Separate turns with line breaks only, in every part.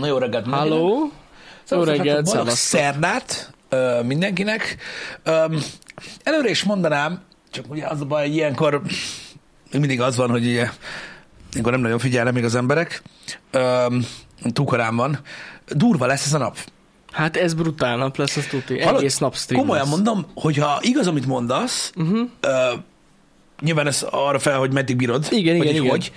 Na jó reggelt mindenkinek.
Halló? Jó
Szevasztok, hát
reggelt,
srácok, boldog
szevasztok.
szerdát ö, mindenkinek. Ö, előre is mondanám, csak ugye az a baj, hogy ilyenkor még mindig az van, hogy ugye, ilyenkor nem nagyon figyelnek még az emberek. Ö, túkarám van. Durva lesz ez a nap.
Hát ez brutál nap lesz, azt tudni.
Hallod?
Egész nap Mhm. stream
Komolyan
lesz.
mondom, hogyha igaz, amit mondasz, uh-huh. ö, nyilván ez arra fel, hogy meddig bírod.
Igen,
vagy
igen,
így
igen.
Hogy.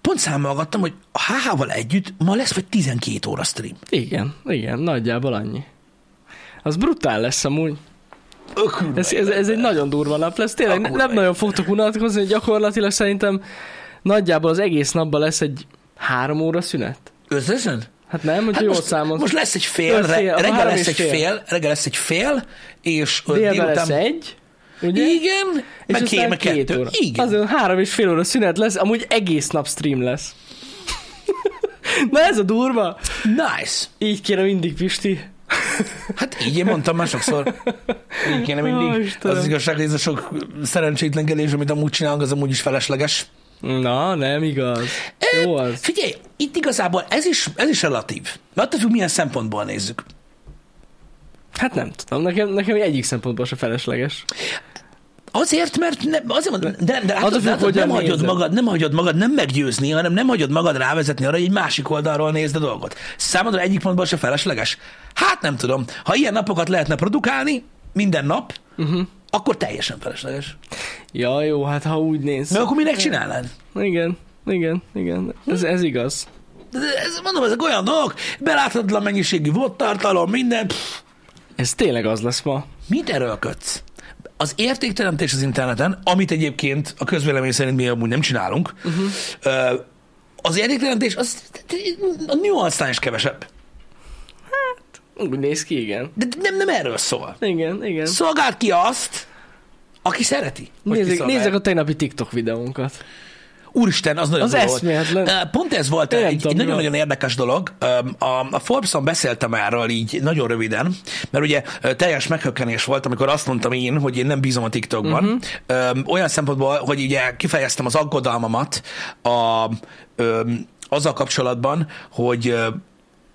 Pont számolgattam, hogy a HH-val együtt ma lesz vagy 12 óra stream.
Igen, igen, nagyjából annyi. Az brutál lesz amúgy.
Ö, kurva
Ez, ez, ez egy nagyon durva nap lesz. Tényleg
Akkor
ne, nem
meg.
nagyon fogtok unatkozni, gyakorlatilag szerintem nagyjából az egész napban lesz egy három óra szünet.
Összesen?
Hát nem, hogy hát
Hát
jól
most,
számolsz.
most lesz egy fél,
Öt fél,
fél
a
reggel
három
lesz
és
egy fél.
fél.
reggel lesz egy fél, és ö,
délben lesz egy, ugye?
Igen,
és
meg
aztán
két, meg
két
kettő.
óra.
Igen.
Azon három és fél óra szünet lesz, amúgy egész nap stream lesz. Na ez a durva.
Nice.
Így kéne mindig, Pisti.
Hát így én mondtam már sokszor. Így kéne
Ó,
mindig.
Istenem.
Az az igazság, hogy ez a sok szerencsétlenkedés, amit amúgy csinálunk, az amúgy is felesleges.
Na, nem igaz. Jó
Ö,
az.
Figyelj, itt igazából ez is, ez is relatív. Mert attól függ, milyen szempontból nézzük.
Hát nem tudom, nekem, nekem egyik szempontból se felesleges.
Azért, mert nem, azért mondom, de, de
Az a
látod,
függ,
látod, nem,
hogyan
hagyod
nézed.
magad, nem hagyod magad nem meggyőzni, hanem nem hagyod magad rávezetni arra, hogy egy másik oldalról nézd a dolgot. Számodra egyik pontból se felesleges? Hát nem tudom. Ha ilyen napokat lehetne produkálni minden nap,
Mhm.
uh-huh. akkor teljesen felesleges.
Ja, jó, hát ha úgy néz.
Mert akkor minek csinálnád?
Igen, igen, igen. Ez, ez igaz.
De Ez, mondom, ezek olyan dolgok, beláthatatlan mennyiségű volt tartalom, minden. Pff,
Ez tényleg az lesz ma.
Mit erőlködsz? Az értékteremtés az interneten, amit egyébként a közvélemény szerint mi amúgy nem csinálunk, uh-huh. az értékteremtés az a nuansznál is kevesebb.
Úgy néz ki, igen.
De nem, nem erről szól.
Igen, igen.
Szolgáld ki azt, aki szereti. hogy
Nézzek,
kiszolgálja.
nézzek a tegnapi TikTok videónkat.
Úristen, az nagyon
Az
durva volt.
eszméletlen.
Ö, Pont ez volt
Én nem
egy,
tudom,
egy
mi
nagyon-nagyon érdekes dolog. Öm, A, a Forbes-on beszéltem erről így nagyon röviden, mert ugye ö, teljes meghökkenés volt, amikor azt mondtam én, hogy én nem bízom a
Mhm.
TikTokban. Uh-huh. Olyan szempontból, hogy ugye kifejeztem az aggodalmamat a, öm, azzal kapcsolatban, hogy ö,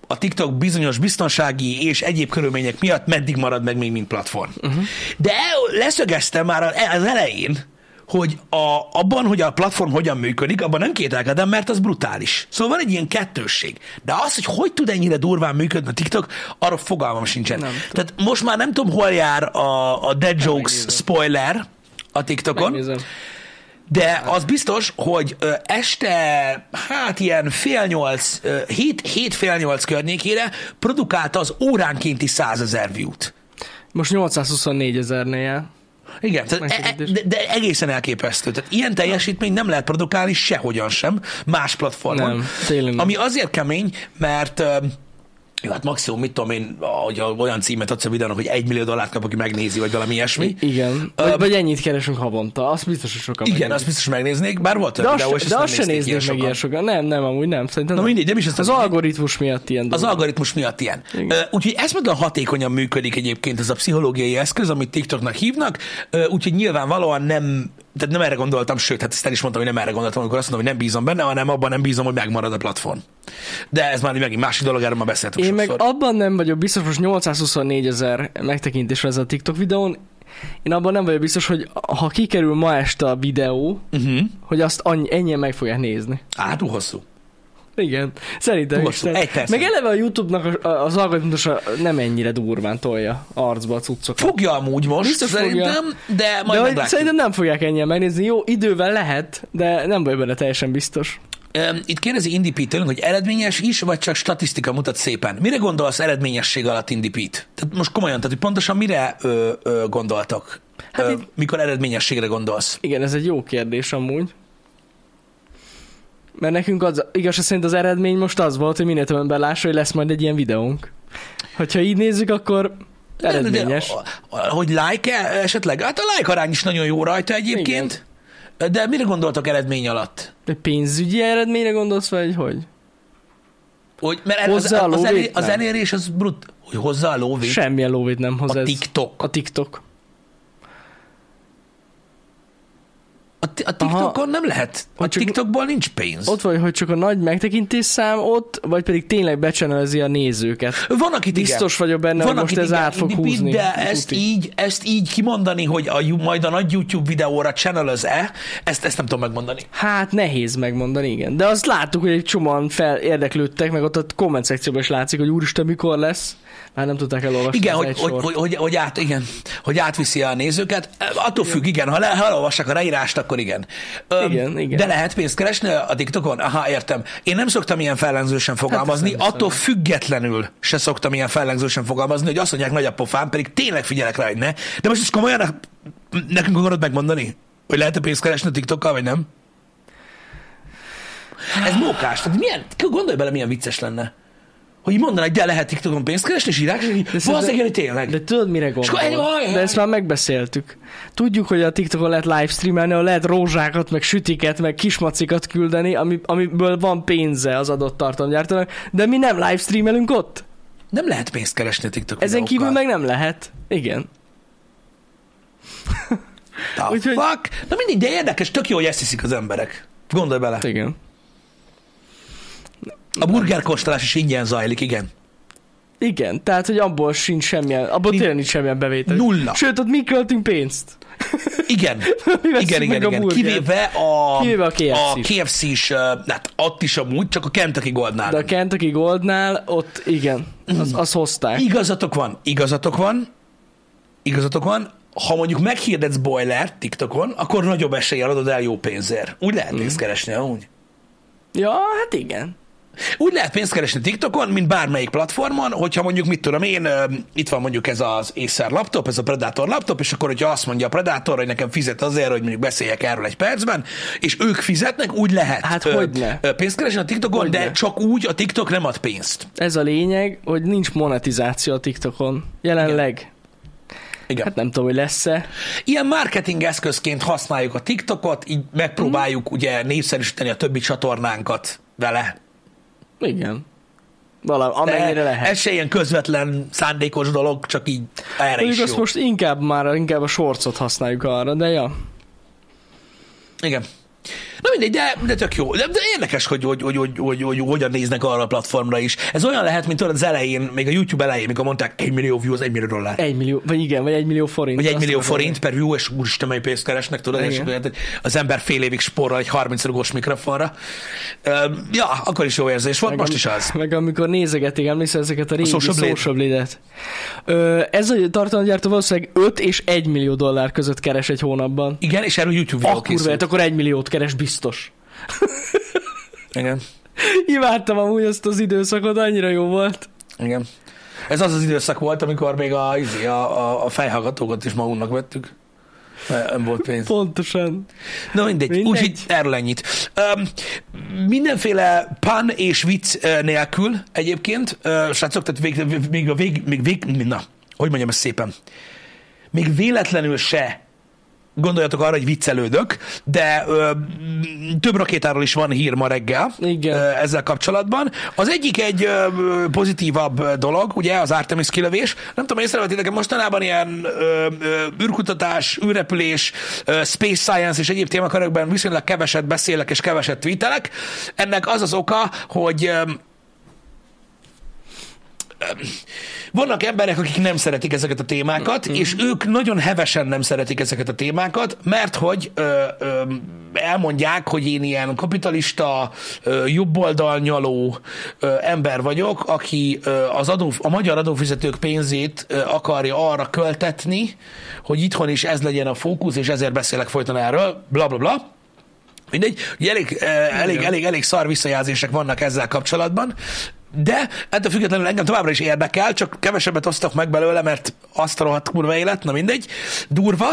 a TikTok bizonyos biztonsági és egyéb körülmények miatt meddig marad meg még, mint platform. Uh-huh. De el- leszögeztem már az elején, hogy a, abban, hogy a platform hogyan működik, abban nem kételkedem, mert az brutális. Szóval van egy ilyen kettősség. De az, hogy hogy tud ennyire durván működni a TikTok, arra fogalmam sincsen.
Nem
Tehát most már nem tudom, hol jár a, a Dead Jokes
megnézem.
spoiler a TikTokon.
Megnézem.
De az biztos, hogy ö, este, hát ilyen fél nyolc, ö, hét, hét fél nyolc környékére produkálta az óránkénti százezer view-t.
Most 824 ezernél jár.
Igen, tehát e, e-
Megközelítés.
de, de egészen elképesztő. Tehát ilyen teljesítmény nem lehet produkálni sehogyan sem, más platformon.
Nem, tényleg nem.
Ami azért kemény, mert ö, jó, hát maximum, mit tudom én, hogy olyan címet adsz a videónak, hogy egy millió dollárt kap, aki megnézi, vagy valami ilyesmi.
I- igen. Vagy, vagy ennyit keresünk havonta, azt biztos, hogy sokan
Igen,
megnézik.
azt biztos megnéznék, bár volt
de
olyan videó, és
azt, de
nem
azt se
nézték
néznék meg ilyen
sokan.
sokan. Nem, nem, amúgy nem. Szerintem
Na
nem.
mindegy, de mi is
Az algoritmus miatt ilyen
az
dolog.
algoritmus miatt ilyen.
Igen.
Ö, Úgyhogy eszmetlen hatékonyan működik egyébként ez a pszichológiai eszköz, amit TikToknak hívnak, ö, úgyhogy nyilvánvalóan nem, tehát nem erre gondoltam, sőt, hát ezt el is mondtam, hogy nem erre gondoltam, amikor azt mondom, hogy nem bízom benne, hanem abban nem bízom, hogy megmarad a platform. De ez már megint másik dolog, erről már beszéltünk
Én meg
sokszor.
abban nem vagyok biztos, most 824 ezer megtekintés van ez a TikTok videón. Én abban nem vagyok biztos, hogy ha kikerül ma este a videó,
Uh-huh.
hogy azt annyi, ennyien meg fogják nézni.
Á, túl hosszú.
Igen, szerintem
Hosszú,
is. Tehát-
egy perc.
Meg eleve a YouTube-nak a- a- az algoritmus a- nem ennyire durván tolja arcba a cuccokat.
Fogja amúgy most,
Biztos
szerintem, de majd
de hogy
meglátjuk.
szerintem nem fogják ennyien megnézni. Jó, idővel lehet, de nem vagy benne teljesen biztos.
Öm, Itt kérdezi Indipít tőlünk, hogy eredményes is, vagy csak statisztika mutat szépen. Mire gondolsz eredményesség alatt Indipít? Tehát most komolyan, tehát hogy pontosan mire ö, ö, gondoltak? Hát
Hát
ö,
itt-
Mikor eredményességre gondolsz?
Igen, ez egy jó kérdés amúgy. Mert nekünk az, igaz, szerint az eredmény most az volt, hogy minél több ember lássa, hogy lesz majd egy ilyen videónk. Hogyha így nézzük, akkor eredményes.
De- de- Hogy like esetleg? Hát a like arány is nagyon jó rajta egyébként. Igen. De mire gondoltak eredmény alatt?
De pénzügyi eredményre gondolsz, vagy hogy?
Hogy, mert el- az,
Hozzá a
az,
lóvét
elé- az
nem.
elérés az brut, hogy hozzá a lóvét.
Semmilyen lóvét nem hoz
a
ez.
TikTok.
A TikTok.
A ti- a TikTokon Aha. nem lehet. A
Hogy csak-
TikTokból nincs pénz.
Ott vagy, hogy csak a nagy megtekintés szám ott, vagy pedig tényleg becsenelezi a nézőket.
Van, akit igen.
Biztos vagyok benne, hogy most
akit
ez
igen,
át fog
de-
húzni.
De ezt
Tuti.
így, ezt így kimondani, hogy a, ju- majd a nagy YouTube videóra channelöz-e, ezt, ezt nem tudom megmondani.
Hát nehéz megmondani, igen. De azt láttuk, hogy egy csomóan fel érdeklődtek, meg ott a komment szekcióban is látszik, hogy úristen, mikor lesz. Már nem tudták elolvasni
Igen,
az
hogy,
egy
hogy,
sort.
hogy, hogy, hogy, át, igen, hogy átviszi a nézőket. Attól függ, igen, ha, le, ha elolvassák a leírást, akkor igen. Öm,
Igen, igen.
De lehet pénzt keresni a TikTokon? Aha, értem. Én nem szoktam ilyen fellenzősen fogalmazni,
nem
hát, attól függetlenül se szoktam ilyen fellenzősen fogalmazni, hogy azt mondják nagy a pofám, pedig tényleg figyelek rá, hogy ne. De most is komolyan nekünk akarod megmondani, hogy lehet-e pénzt keresni a TikTokkal, vagy nem? Ez mókás. Tehát milyen, gondolj bele, milyen vicces lenne. Hogy mondaná, hogy de lehet TikTokon pénzt keresni, és írják, és így,
szerintem-
valószínűleg, hogy tényleg.
De tudod, mire
És akkor-
gondol? De ezt már megbeszéltük. Tudjuk, hogy a TikTokon lehet livestreamelni, ahol lehet rózsákat, meg sütiket, meg kismacikat küldeni, ami, amiből van pénze az adott tartalomgyártónak, de mi nem livestreamelünk ott.
Nem lehet pénzt keresni a TikTok
Ezen
videókkal.
kívül meg nem lehet. Igen.
The
úgyhogy-
fuck? Na mindig, de érdekes, tök jó, hogy ezt hiszik az emberek. Gondolj bele.
Igen.
A burgerkóstolás is ingyen zajlik, igen.
Igen, tehát, hogy abból sincs semmilyen, abból
Nincs-
tényleg nincs semmilyen bevétel.
Nulla.
Sőt, ott mi költünk pénzt?
Igen,
Mi veszünk
igen,
meg
igen,
a
igen.
burgert?
Kivéve a,
Kivéve a
a
KFC-t.
KFC is, ö, hát ott is amúgy, csak a Kentucky Goldnál.
De a
nem.
Kentucky Goldnál ott igen, az,
Mhm.
az hozták.
Igazatok van, igazatok van, igazatok van, ha mondjuk meghirdetsz boilert TikTokon, akkor nagyobb eséllyel adod el jó pénzért. Úgy lehet
Mhm.
pénzt keresni, amúgy.
Ja, hát igen.
Úgy lehet pénzt keresni TikTokon, mint bármelyik platformon, hogyha mondjuk, mit tudom én, ö, itt van mondjuk ez az Acer laptop, ez a Predator laptop, és akkor, hogyha azt mondja a Predator, hogy nekem fizet azért, hogy mondjuk beszéljek erről egy percben, és ők fizetnek, úgy lehet
Hát
ö,
hogyne.
ö, pénzt keresni a TikTokon,
Hogyne.
de csak úgy a TikTok nem ad pénzt.
Ez a lényeg, hogy nincs monetizáció a TikTokon. Jelenleg. Igen.
Igen.
Hát nem tudom, hogy lesz-e.
Ilyen marketing eszközként használjuk a TikTokot, így megpróbáljuk
Mhm.
ugye népszerűsíteni a többi csatornánkat vele.
Igen. Valami,
De
amennyire lehet.
Ez se ilyen közvetlen, szándékos dolog, csak így erre is
Mondjuk
jó.
azt most inkább már inkább a sorcot használjuk arra, de ja.
Igen. Na mindegy, de, de tök jó. De, de érdekes, hogy, hogy, hogy, hogy, hogy, hogy, hogyan néznek arra a platformra is. Ez olyan lehet, mint tudod az elején, még a YouTube elején, mikor mondták 1 millió view az 1 millió dollár.
Egy millió, vagy igen, vagy egy millió forint.
Vagy 1
Azt
millió
akarom
forint per view, és úristen, mennyi pénzt keresnek, tudod, és
Igen.
akkor hát az ember fél évig spórol egy 30 rugós mikrofonra. Öm, Ja, akkor is jó érzés volt,
Meg
most
am-
is az.
Meg amikor nézegetik, emlékszel ezeket a régi
Social Blade.
social blade-et. Ö, ez a tartalomgyártó valószínűleg 5 és 1 millió dollár között keres egy hónapban.
Igen, és erről YouTube videó
A kurva, hát
készült.
akkor 1 milliót keres biztos.
Igen,
Imádtam amúgy azt az időszakot, annyira jó volt.
igen. Ez az az időszak volt, amikor még a, izé, a, a, a fejhallgatókat is magunknak vettük. Mert Nem volt pénz.
Pontosan.
Na mindegy,
Mindegy.
úgyhogy erről ennyit. Um, mindenféle pan és vicc ö, nélkül egyébként, uh, srácok, tehát vég, vég- még a vég, még vég, na, hogy mondjam ezt szépen, még véletlenül se gondoljatok arra, hogy viccelődök, de ö, m, több rakétáról is van hír ma reggel
Igen.
ö, ezzel kapcsolatban. Az egyik egy ö, ö, pozitívabb ö, dolog, ugye az Artemis kilövés. Nem tudom, észrevettétek mostanában ilyen ö, ö, űrkutatás, űrrepülés, ö, space science és egyéb témakörökben viszonylag keveset beszélek és keveset tweetelek. Ennek az az oka, hogy ö, vannak emberek, akik nem szeretik ezeket a témákat, mm-hmm. és ők nagyon hevesen nem szeretik ezeket a témákat, mert hogy ö, ö, elmondják, hogy én ilyen kapitalista, ö, jobboldalnyaló ö, ember vagyok, aki ö, az adó, a magyar adófizetők pénzét ö, akarja arra költetni, hogy itthon is ez legyen a fókusz, és ezért beszélek folyton erről, bla bla bla. Mindegy, ugye elég, eh, elég, elég, elég szar visszajelzések vannak ezzel kapcsolatban, de ettől függetlenül engem továbbra is érdekel, csak kevesebbet osztok meg belőle, mert azt a rohadt kurva élet, na mindegy, durva,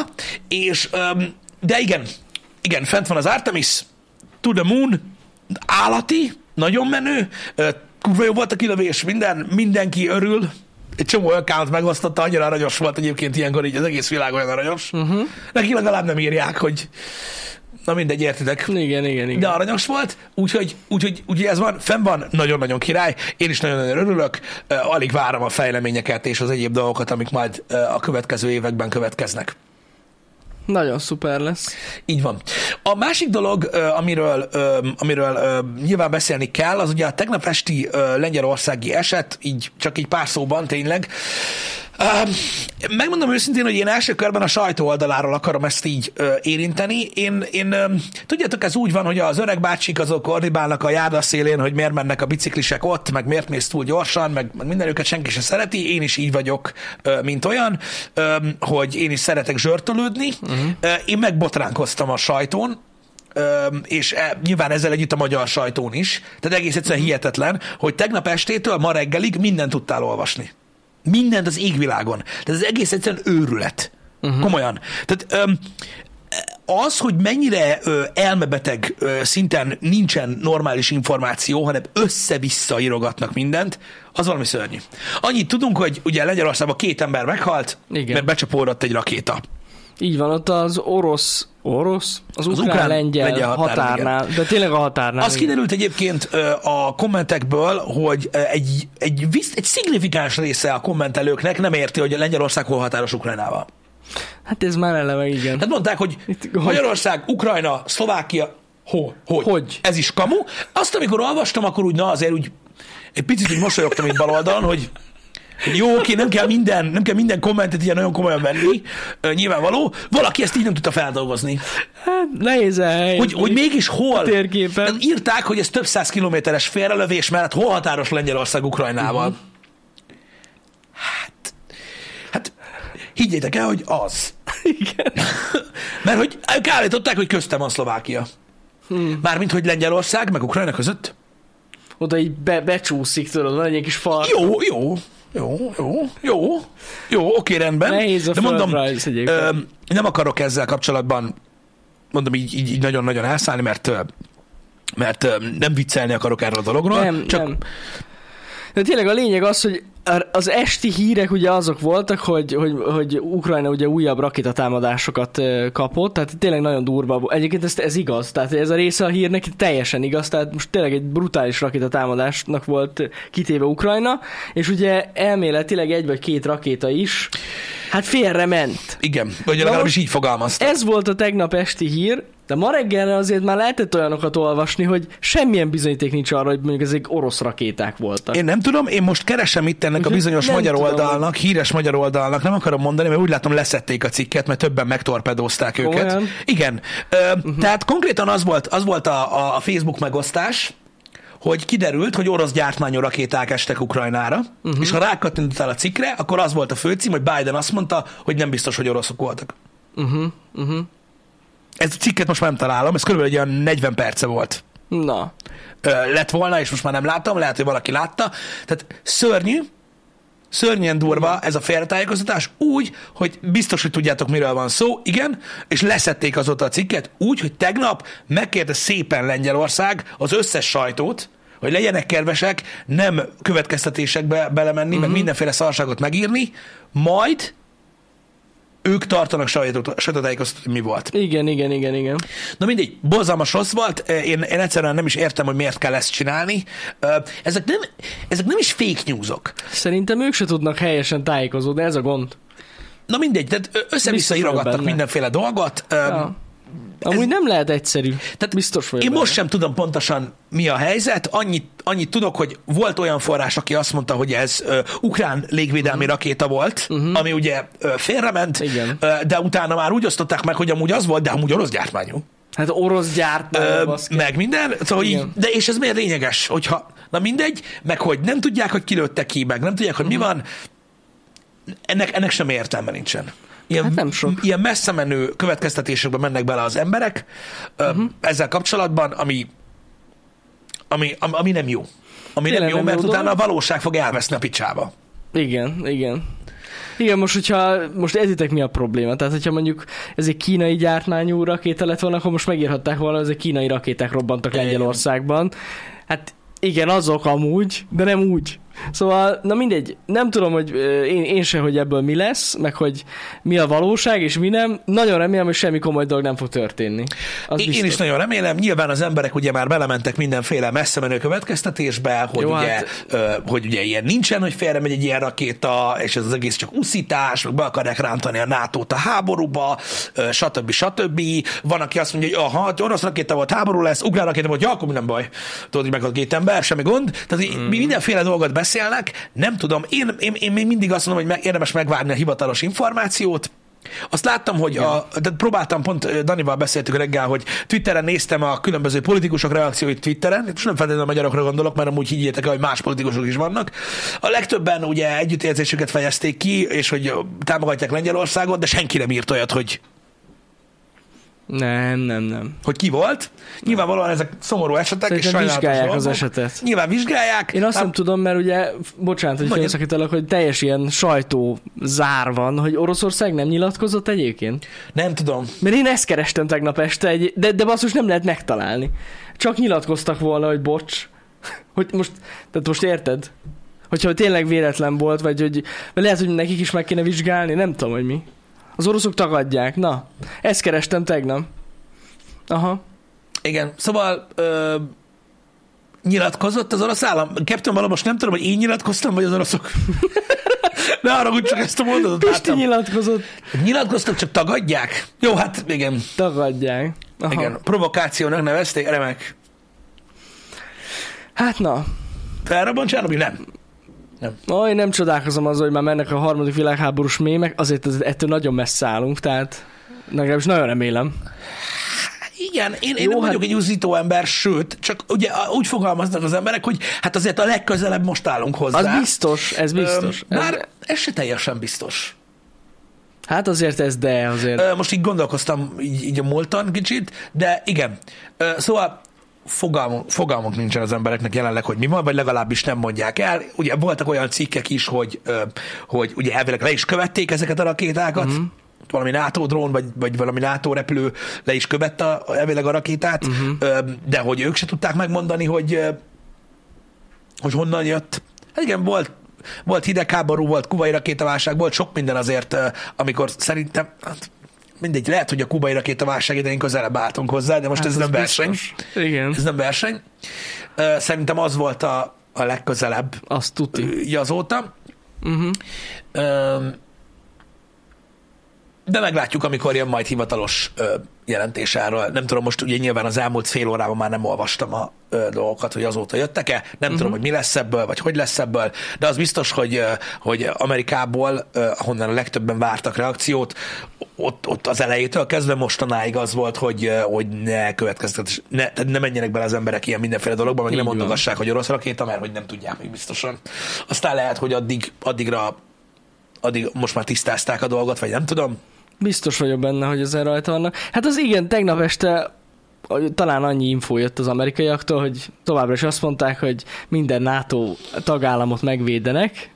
és öm, de igen, igen, fent van az Artemis, to the moon, állati, nagyon menő, ö, kurva jó volt a kilövés, minden, mindenki örül, egy csomó account megosztotta, annyira aranyos volt egyébként ilyenkor így az egész világ olyan aranyos. Uh-huh. Neki legalább nem írják, hogy na mindegy, értitek.
Igen, igen, igen.
De aranyos volt, úgyhogy, úgyhogy, úgyhogy ez van, fenn van, nagyon-nagyon király, én is nagyon-nagyon örülök, ö, alig várom a fejleményeket és az egyéb dolgokat, amik majd ö, a következő években következnek.
Nagyon szuper lesz.
Így van. A másik dolog, ö, amiről, ö, amiről ö, nyilván beszélni kell, az ugye a tegnap esti ö, lengyelországi eset, így csak egy pár szóban tényleg. Ö, Megmondom őszintén, hogy én első körben a sajtó oldaláról akarom ezt így ö, érinteni. Én, én ö, tudjátok, ez úgy van, hogy az öreg bácsik azok ordibálnak a járda szélén, hogy miért mennek a biciklisek ott, meg miért mész túl gyorsan, meg, meg minden őket senki se szereti. Én is így vagyok, ö, mint olyan, ö, hogy én is szeretek zsörtölődni. Uh-huh. Én megbotránkoztam a sajtón, Öm, és e, nyilván ezzel együtt a magyar sajtón is. Tehát egész egyszerűen hihetetlen, hogy tegnap estétől ma reggelig mindent tudtál olvasni. Mindent az égvilágon. Tehát ez egész egyszerűen őrület. Uh-huh. Komolyan. Tehát öm, az, hogy mennyire ö, elmebeteg ö, szinten nincsen normális információ, hanem össze-vissza írogatnak mindent, az valami szörnyű. Annyit tudunk, hogy ugye Lengyelországban két ember meghalt,
Igen.
mert becsapódott egy rakéta.
Így van, ott az orosz, orosz? Az, az
ukrán-
ukrán-lengyel
lengyel határon,
határnál, de tényleg a határnál.
Az
igen.
kiderült egyébként ö, a kommentekből, hogy ö, egy, egy, visz- egy szignifikáns része a kommentelőknek nem érti, hogy a Lengyelország hol határos Ukrajnával.
Hát ez már eleve igen.
Tehát mondták, hogy
Itt- hogy-
Magyarország, Ukrajna, Szlovákia, ho, hogy.
Hogy?
Ez is kamu. Azt, amikor olvastam, akkor úgy, na azért úgy egy picit úgy mosolyogtam itt bal oldalon, hogy jó, oké, nem kell minden, nem kell minden kommentet ilyen nagyon komolyan venni, ö, nyilvánvaló. Valaki ezt így nem tudta feldolgozni.
Hát nehéz elhelyezni.
Hogy, hogy mégis hol?
térképen.
Tehát Írták, hogy ez több száz kilométeres félrelövés mellett hol határos Lengyelország Ukrajnával. Uh-huh. Hát, hát higgyétek el, hogy az.
Igen.
Mert hogy ők állították, hogy köztem van Szlovákia. Hmm. Mármint, hogy Lengyelország meg Ukrajna között.
Oda így be, becsúszik, tudod, van egy ilyen kis fal.
Jó, jó, jó, jó, jó, jó, oké, rendben.
Nehéz a
De mondom,
földrajz egyébként.
ö, nem akarok ezzel kapcsolatban, mondom így, így, így nagyon-nagyon elszállni, mert ö, mert ö, nem viccelni akarok erről a dologról.
Nem,
csak
csak... nem. De tényleg a lényeg az, hogy ar- az esti hírek ugye azok voltak, hogy, hogy, hogy Ukrajna ugye újabb rakétatámadásokat ö, kapott, tehát tényleg nagyon durva. volt. Egyébként ez, ez igaz, tehát ez a része a hírnek teljesen igaz, tehát most tényleg egy brutális rakétatámadásnak volt ö, kitéve Ukrajna, és ugye elméletileg egy vagy két rakéta is, hát félre ment.
Igen, vagy legalábbis
most-
így fogalmazta.
Ez volt a tegnap esti hír, de ma reggelre azért már lehetett olyanokat olvasni, hogy semmilyen bizonyíték nincs arra, hogy mondjuk ezek orosz rakéták voltak.
Én nem tudom, én most keresem itt ennek a
Úgyhogy
bizonyos
Mhm. nem
magyar
tudom.
oldalnak, híres magyar oldalnak, nem akarom mondani, mert úgy látom leszették a cikket, mert többen megtorpedózták őket.
Komolyan? Mhm.
Igen. Ö, uh-huh. Tehát konkrétan az volt, az volt a, a- a Facebook megosztás, hogy kiderült, hogy orosz gyártmányú rakéták estek Ukrajnára,
Mhm.
uh-huh. és ha rákattintottál a cikkre, akkor az volt a főcím, hogy Biden azt mondta, hogy nem biztos, hogy oroszok voltak.
Uh-huh, uh-huh.
Ez a cikket most már nem találom, ez körülbelül egy olyan 40 perce volt.
Na,
ö, lett volna, és most már nem láttam, lehet, hogy valaki látta. Tehát szörnyű, szörnyen durva ez a félretájékoztatás, úgy, hogy biztos, hogy tudjátok, miről van szó, igen, és leszették azóta a cikket, úgy, hogy tegnap megkérte szépen Lengyelország az összes sajtót, hogy legyenek kedvesek, nem következtetésekbe belemenni, uh-huh. meg mindenféle szarságot megírni, majd ők tartanak sajtót- sajtótájékoztatót, hogy mi volt.
igen, igen, igen, igen.
Na mindegy, borzalmas rossz volt, én, én egyszerűen nem is értem, hogy miért kell ezt csinálni. Ö, Ezek nem, ezek nem is fake newsok.
Szerintem ők se tudnak helyesen tájékozódni, ez a gond.
Na mindegy, tehát ö, össze-vissza
Biztos vagy
írogattak
benne.
mindenféle dolgot. Ö,
Ja. Amúgy ez... nem lehet egyszerű. Tehát biztos vagyok.
Én
benne.
most sem tudom pontosan mi a helyzet, annyit, annyit tudok, hogy volt olyan forrás, aki azt mondta, hogy ez ö, ukrán légvédelmi uh-huh. rakéta volt, uh-huh. ami ugye ö, félrement,
Mhm. Igen.
ö, de utána már úgy osztották meg, hogy amúgy az volt, de amúgy orosz gyártmányú.
Hát orosz gyártmány,
Ö,
baszki.
meg minden, szóval így,
Igen.
de és ez miért lényeges, hogyha, na mindegy, meg hogy nem tudják, hogy kilőtte ki, meg nem tudják, hogy
Mhm.
mi van, ennek, ennek sem értelme nincsen. Ilyen,
Hát nem sok.
ilyen messze menő következtetésekbe mennek bele az emberek
Mhm.
uh-huh. ezzel kapcsolatban, ami, ami, ami, ami nem jó. Ami
Tényleg
nem jó,
nem jó
mert
dolog.
utána a valóság fog elveszni a picsába.
Igen, igen. Igen, most hogyha, most ezitek mi a probléma? Tehát, hogyha mondjuk ez egy kínai gyártmányú rakéta lett volna, akkor most megírhatták volna, hogy ezek kínai rakéták robbantak
Igen.
Lengyelországban. Hát igen, azok amúgy, de nem úgy. Szóval, na mindegy, nem tudom, hogy ö, én, én se, hogy ebből mi lesz, meg hogy mi a valóság és mi nem. Nagyon remélem, hogy semmi komoly dolog nem fog történni. Az
Én, én is nagyon remélem, nyilván az emberek ugye már belementek mindenféle messze menő következtetésbe, hogy,
Jó,
Jó, ugye,
hát-
hát... ö, hogy ugye ilyen nincsen, hogy félre megy egy ilyen rakéta, és ez az egész csak uszítás, meg be akarják rántani a nato a háborúba, ö, stb. stb. Van, aki azt mondja, hogy aha, hát orosz rakéta volt, háború lesz, ugrán rakéta volt, ja, akkor minden baj. Tudod, hogy meghalt két ember, semmi gond. Tehát így mi mindenféle dolgot beszélnek, nem tudom, én, én, én még mindig azt mondom, hogy meg, érdemes megvárni a hivatalos információt, azt láttam, hogy a, de próbáltam, pont ö, Danival beszéltük reggel, hogy Twitteren néztem a különböző politikusok reakcióit Twitteren, most nem feltétlenül a magyarokra gondolok, mert amúgy higgyétek el, hogy más politikusok is vannak. A legtöbben ugye együttérzésüket fejezték ki, és hogy ö, támogatják Lengyelországot, de senki nem írt olyat, hogy,
Nem, nem, nem.
hogy ki volt. Nyilvánvalóan ezek szomorú esetek, és
Szerintem
sajnálatos
vizsgálják az
dolgok.
esetet.
Nyilván vizsgálják.
Én azt
Hát-
nem tudom, mert ugye, f- bocsánat, hogy
Mondjad.
félszakítalak, hogy teljes ilyen sajtó zár van, hogy Oroszország nem nyilatkozott egyébként.
nem tudom.
Mert én ezt kerestem tegnap este, egy, de, de basszus nem lehet megtalálni. Csak nyilatkoztak volna, hogy bocs. Hogy most, tehát most érted? Hogyha tényleg véletlen volt, vagy hogy vagy lehet, hogy nekik is meg kéne vizsgálni, nem tudom, hogy mi. Az oroszok tagadják, na. Ezt kerestem tegnap. Aha.
Igen, szóval ö, nyilatkozott az orosz állam. Captain Balog, most nem tudom, hogy én nyilatkoztam, vagy az oroszok. ne haragudj, csak ezt Hát a mondatot
Pisti
láttam.
nyilatkozott,
Nyilatkoztak, csak tagadják. Jó, hát igen,
tagadják. Aha.
igen. Provokációnak nevezték, remek.
Hát na,
Felrabban Csernobyl? Nem.
Ó, én nem csodálkozom azzal, hogy már mennek a harmadik világháborús mémek, azért ez, ettől nagyon messze állunk, tehát legalábbis nagyon remélem.
Igen, én, én
Jó,
Jó, nem
hát-
vagyok egy uszító ember, sőt, csak ugye a- úgy fogalmaznak az emberek, hogy hát azért a legközelebb most állunk hozzá.
Az biztos, ez biztos.
Öm,
Ez-
Bár ez se teljesen biztos.
Hát azért ez de, azért.
Ö, Most így gondolkoztam így, így a múltan kicsit, de igen. Ö, Szóval fogalmunk, fogalmunk nincsen az embereknek jelenleg, hogy mi van, vagy legalábbis nem mondják el. Ugye voltak olyan cikkek is, hogy, ö, hogy ugye elvileg le is követték ezeket a rakétákat, mm-hmm. valami NATO drón, vagy, vagy valami NATO repülő le is követte a- elvileg a rakétát, mm-hmm. de hogy ők se tudták megmondani, hogy, ö, hogy honnan jött. Hát igen, volt, volt hidegháború, volt kubai rakétaválság, volt sok minden azért, ö, amikor szerintem, hát mindegy, lehet, hogy a kubai rakétaválság idején közelebb álltunk hozzá, de most
hát
hát ez
az
nem verseny.
biztos. Igen,
Ez nem verseny. Ö, Szerintem az volt a, a legközelebb
azt tuti.
így azóta.
Uh-huh.
Öm, De meglátjuk, amikor jön majd hivatalos ö, jelentés erről. Nem tudom, most ugye nyilván az elmúlt fél órában már nem olvastam a ö, dolgokat, hogy azóta jöttek-e. Nem uh-huh.
Mhm.
tudom, hogy mi lesz ebből, vagy hogy lesz ebből, de az biztos, hogy ö, hogy Amerikából, ö, ahonnan a legtöbben vártak reakciót, ott, ott az elejétől kezdve mostanáig az volt, hogy, ö, hogy ne következtetés, ne, tehát ne menjenek bele az emberek ilyen mindenféle dologba, meg
Így
nem
van.
mondogassák, hogy orosz rakéta, mert hogy nem tudják még biztosan. Aztán lehet, hogy addig, addigra addig most már tisztázták a dolgot, vagy nem tudom.
Biztos vagyok benne, hogy ezen rajta vannak. Hát az igen, tegnap este a- talán annyi infó jött az amerikaiaktól, hogy továbbra is azt mondták, hogy minden NATO tagállamot megvédenek.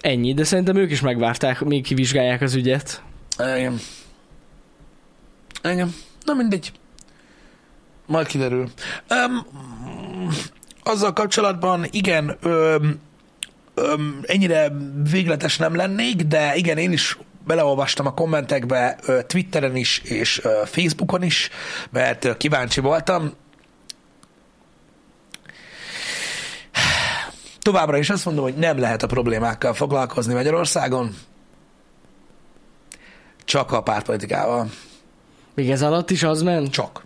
Ennyi, de szerintem ők is megvárták, még kivizsgálják az ügyet.
Igen. Igen. Na mindegy. Majd kiderül. Um, azzal kapcsolatban igen, um, um, ennyire végletes nem lennék, de igen, én is beleolvastam a kommentekbe ö, Twitteren is, és ö, Facebookon is, mert ö, kíváncsi voltam. Továbbra is azt mondom, hogy nem lehet a problémákkal foglalkozni Magyarországon, csak a pártpolitikával.
Még ez alatt is az ment?
Csak.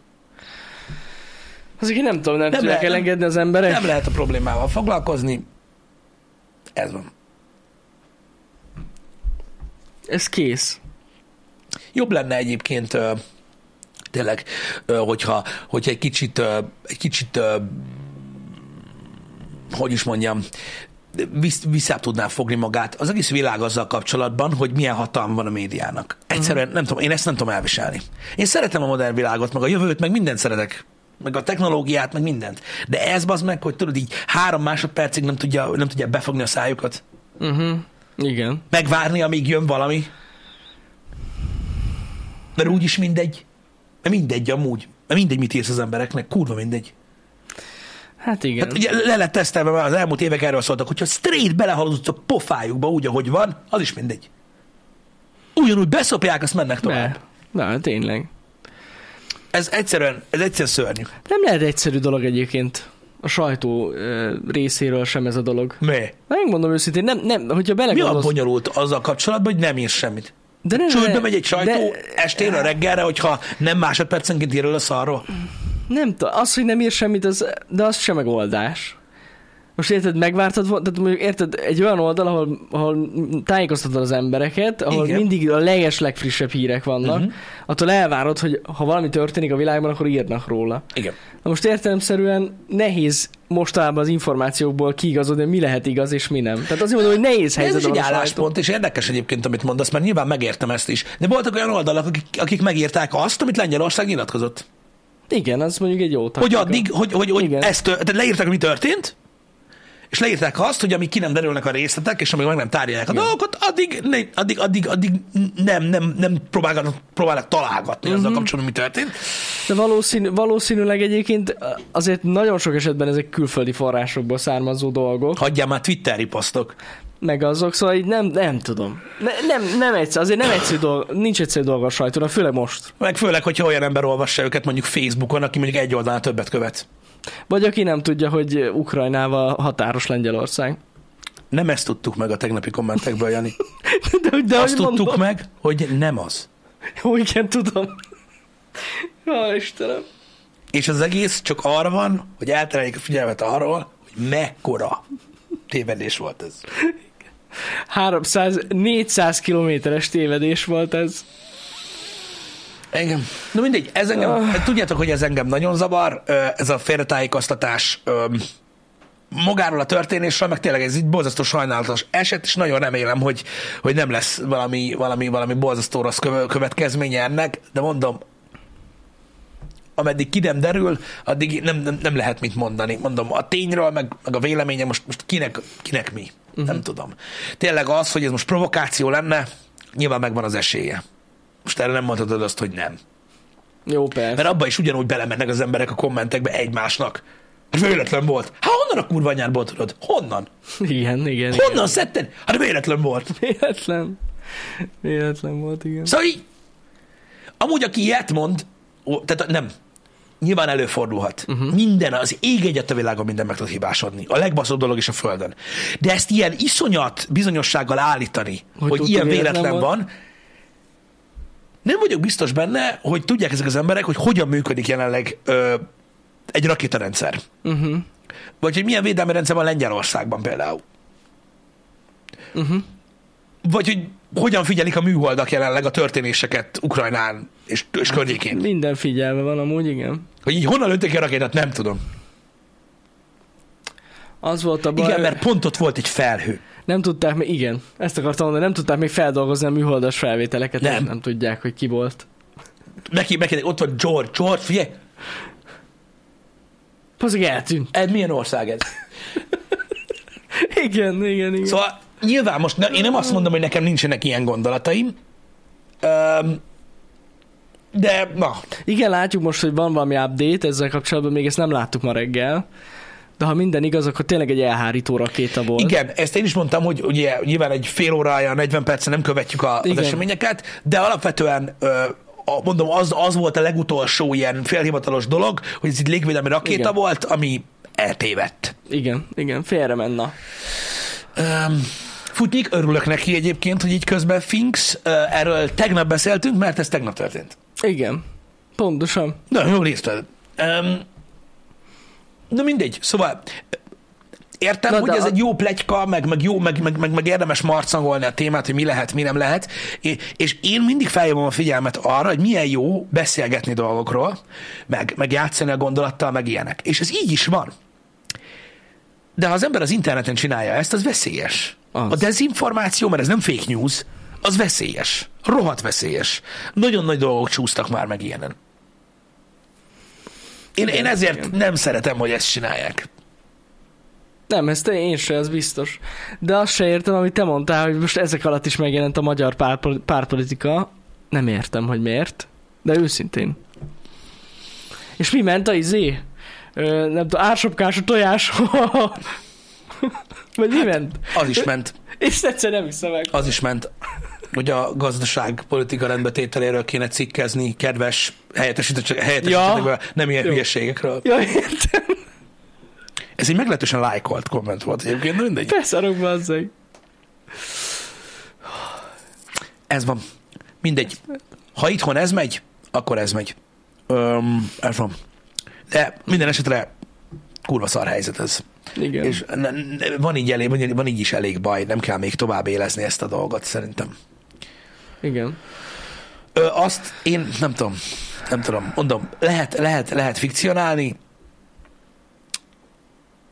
Azért én nem tudom, nem, nem
Nem
tudják
lehet, nem-
elengedni az emberek.
Nem lehet a problémával foglalkozni. Ez van.
Ez kész.
Jobb lenne egyébként ö, tényleg, ö, hogyha, hogyha egy kicsit, ö, egy kicsit ö, hogy is mondjam, visz- visszább tudná fogni magát az egész világ azzal kapcsolatban, hogy milyen hatalma van a médiának. Egyszerűen nem tudom, én ezt nem tudom elviselni. Én szeretem a modern világot, meg a jövőt, meg mindent szeretek meg a technológiát, meg mindent. De ez az meg, hogy tudod, így három másodpercig nem tudja, nem tudja befogni a szájukat.
Uh-huh. Igen.
megvárni, amíg jön valami. Mert úgyis mindegy. Mert mindegy amúgy. Mert mindegy, mit írsz az embereknek. Kurva mindegy.
Hát igen.
Hát ugye le lett tesztelve, mert az elmúlt évek erről szóltak, hogyha straight belehaludsz a pofájukba úgy, ahogy van, az is mindegy. Ugyanúgy beszopják, azt mennek tovább.
Ne. Na, hát tényleg.
Ez egyszerűen, ez egyszerűen szörnyű.
Nem lehet egyszerű dolog egyébként. A sajtó ö, részéről sem ez a dolog.
Mi?
Na, megmondom őszintén, nem, nem, hogyha
Mi a
belegondolsz...
bonyolult azzal kapcsolatban, hogy nem ír semmit?
de nem,
Csődbe
nem,
megy egy sajtó
de-
esténre, reggelre, hogyha nem másodpercenként ír el a szarról.
Nem tudom, az, hogy nem ír semmit, az, de az sem megoldás. Most érted, megvártad, vol- tehát mondjuk érted, egy olyan oldal, ahol, ahol tájékoztatod az embereket, ahol
Igen.
Igen. mindig a leges, legfrissebb hírek vannak,
Mhm.
uh-huh. attól elvárod, hogy ha valami történik a világban, akkor írnak róla.
Igen.
Na most értelemszerűen nehéz mostában az információkból kiigazodni, hogy mi lehet igaz és mi nem. Tehát azt mondom, hogy nehéz
De ez
helyzet
is egy
van a sajtó.
álláspont, és érdekes egyébként, amit mondasz, mert nyilván megértem ezt is. De voltak olyan oldalak, akik, akik megírták azt, amit Lengyelország nyilatkozott.
Hát Igen, az mondjuk egy jó
Hogy
taktika.
addig, hogy, hogy, hogy
Igen.
ezt, tör- tehát leírták, hogy mi történt, és leírták azt, hogy amíg ki nem derülnek a részletek, és amíg meg nem tárgyalják a
Igen.
dolgokat, addig, ne, addig, addig, addig nem, nem, nem próbálnak, próbálnak találgatni azzal
Mhm.
kapcsolatban, mi történt.
De valószínű, valószínűleg egyébként azért nagyon sok esetben ezek külföldi forrásokból származó dolgok,
Hagyjál már Twitter riposztok.
meg azok, szóval így nem, nem tudom. Ne, nem, nem egyszer, azért nem egyszerű dolog, nincs egyszerű dolga a sajtóra, főleg most.
Meg főleg, hogyha olyan ember olvassa őket mondjuk Facebookon, aki mondjuk egy oldalán többet követ.
Vagy aki nem tudja, hogy Ukrajnával határos Lengyelország.
Nem ezt tudtuk meg a tegnapi kommentekből, Jani.
De, hogy- de
Azt
hogy
tudtuk
mondom,
meg, hogy nem az.
Jó, igen, tudom. Ja, Istenem.
És az egész csak arra van, hogy eltereljék a figyelmet arról, hogy mekkora tévedés volt ez.
300-400 kilométeres tévedés volt ez.
Engem. Na mindegy, ez engem, tudjátok, hogy ez engem nagyon zavar, ö, ez a félretájékoztatás ö, magáról a történésről, meg tényleg ez így borzasztó sajnálatos eset, és nagyon remélem, hogy, hogy nem lesz valami, valami, valami borzasztó rossz köve- következménye ennek, de mondom, ameddig ki nem derül, addig nem, nem, nem lehet mit mondani. Mondom, a tényről, meg, meg a véleménye most, most kinek, kinek mi? Uh-huh. Nem tudom. Tényleg az, hogy ez most provokáció lenne, nyilván megvan az esélye. Most erre nem mondhatod azt, hogy nem.
Jó, persze.
Mert abba is ugyanúgy belemennek az emberek a kommentekbe egymásnak. Hát véletlen volt. Hát honnan a kurva anyádból tudod? Honnan?
Igen, igen.
Honnan szedted? Hát véletlen volt.
Véletlen. Véletlen volt, igen.
Szóval így, amúgy aki ilyet mond, ó, tehát nem, nyilván előfordulhat.
Mhm.
Uh-huh. Minden, az ég egyet a világon minden meg tud hibásodni. A legbaszobb dolog is a Földön. De ezt ilyen iszonyat bizonyossággal állítani, hogy,
Hogy
hogy
tudta,
ilyen
véletlen
véletlen van,
volt.
van, nem vagyok biztos benne, hogy tudják ezek az emberek, hogy hogyan működik jelenleg ö, egy rakétarendszer.
Uh-huh.
Vagy hogy milyen védelmi rendszer van Lengyelországban például.
Uh-huh.
Vagy hogy hogyan figyelik a műholdak jelenleg a történéseket Ukrajnán és, és környékén.
Minden figyelme van amúgy, igen.
Hogy így honnan lőtték ki a rakétát, nem tudom.
Az volt a baj,
Igen, mert pont ott volt egy felhő.
nem tudták még, igen, ezt akartam mondani, nem tudták még feldolgozni a műholdas felvételeket,
Nem.
nem, nem tudják, hogy ki volt.
Neki, neki, ott van George, George, figyelj,
Pazik eltűnt.
ez milyen ország ez?
Igen, igen, igen. Szóval...
Szóval nyilván most ne, én nem azt mondom, hogy nekem nincsenek ilyen gondolataim, Öm, de na,
Igen, látjuk most, hogy van valami update ezzel kapcsolatban, még ezt nem láttuk ma reggel. De ha minden igaz, akkor tényleg egy elhárító rakéta volt.
igen, ezt én is mondtam, hogy ugye nyilván egy fél órája, 40 percen nem követjük a, az
Igen.
eseményeket, de alapvetően ö, a, mondom, az, az volt a legutolsó ilyen félhivatalos dolog, hogy ez egy légvédelmi rakéta
Igen.
volt, ami eltévedt.
Igen, igen, félre menne.
Um, futnik, örülök neki egyébként, hogy így közben Finks, uh, erről tegnap beszéltünk, mert ez tegnap történt.
Igen, pontosan.
Na, jó részt um, Na mindegy, szóval értem,
Na
hogy
de
ez
a-
egy jó plegyka, meg, meg jó, meg, meg, meg, meg érdemes marcangolni a témát, hogy mi lehet, mi nem lehet, É- és én mindig felhívom a figyelmet arra, hogy milyen jó beszélgetni dolgokról, meg, meg játszani a gondolattal, meg ilyenek. És ez így is van. De ha az ember az interneten csinálja ezt, az veszélyes. Az.
Az.
A dezinformáció, mert ez nem fake news, az veszélyes. Rohadt veszélyes. Nagyon nagy dolgok csúsztak már meg ilyenen. Én, én ezért nem szeretem, hogy ezt csinálják.
Nem, ezt én se, ez biztos. De azt se értem, amit te mondtál, hogy most ezek alatt is megjelent a magyar párpol- pártpolitika. Nem értem, hogy miért, de őszintén. És mi ment a izé? ö, nem tudom, ársapkás a tojás. Vagy mi ment?
Az is ment.
És egyszer nem hiszem meg.
Az is ment, hogy a gazdaság politika rendbetételéről kéne cikkezni, kedves helyettesítők, helyettesítőkről, ja. nem ilyen
Jó.
hülyeségekről.
Ja, értem.
Ez egy meglehetősen lájkolt komment volt egyébként, de mindegy.
Beszarok, bazzeg.
Ez van. Mindegy. Ha itthon ez megy, akkor ez megy. Öm, ez van. De minden esetre kurva szar helyzet ez.
Igen.
És ne- ne- van így, elég, van így- van így is elég baj, nem kell még tovább élezni ezt a dolgot szerintem.
Igen.
Ö, azt én nem tudom, nem tudom, mondom, lehet, lehet, lehet fikcionálni,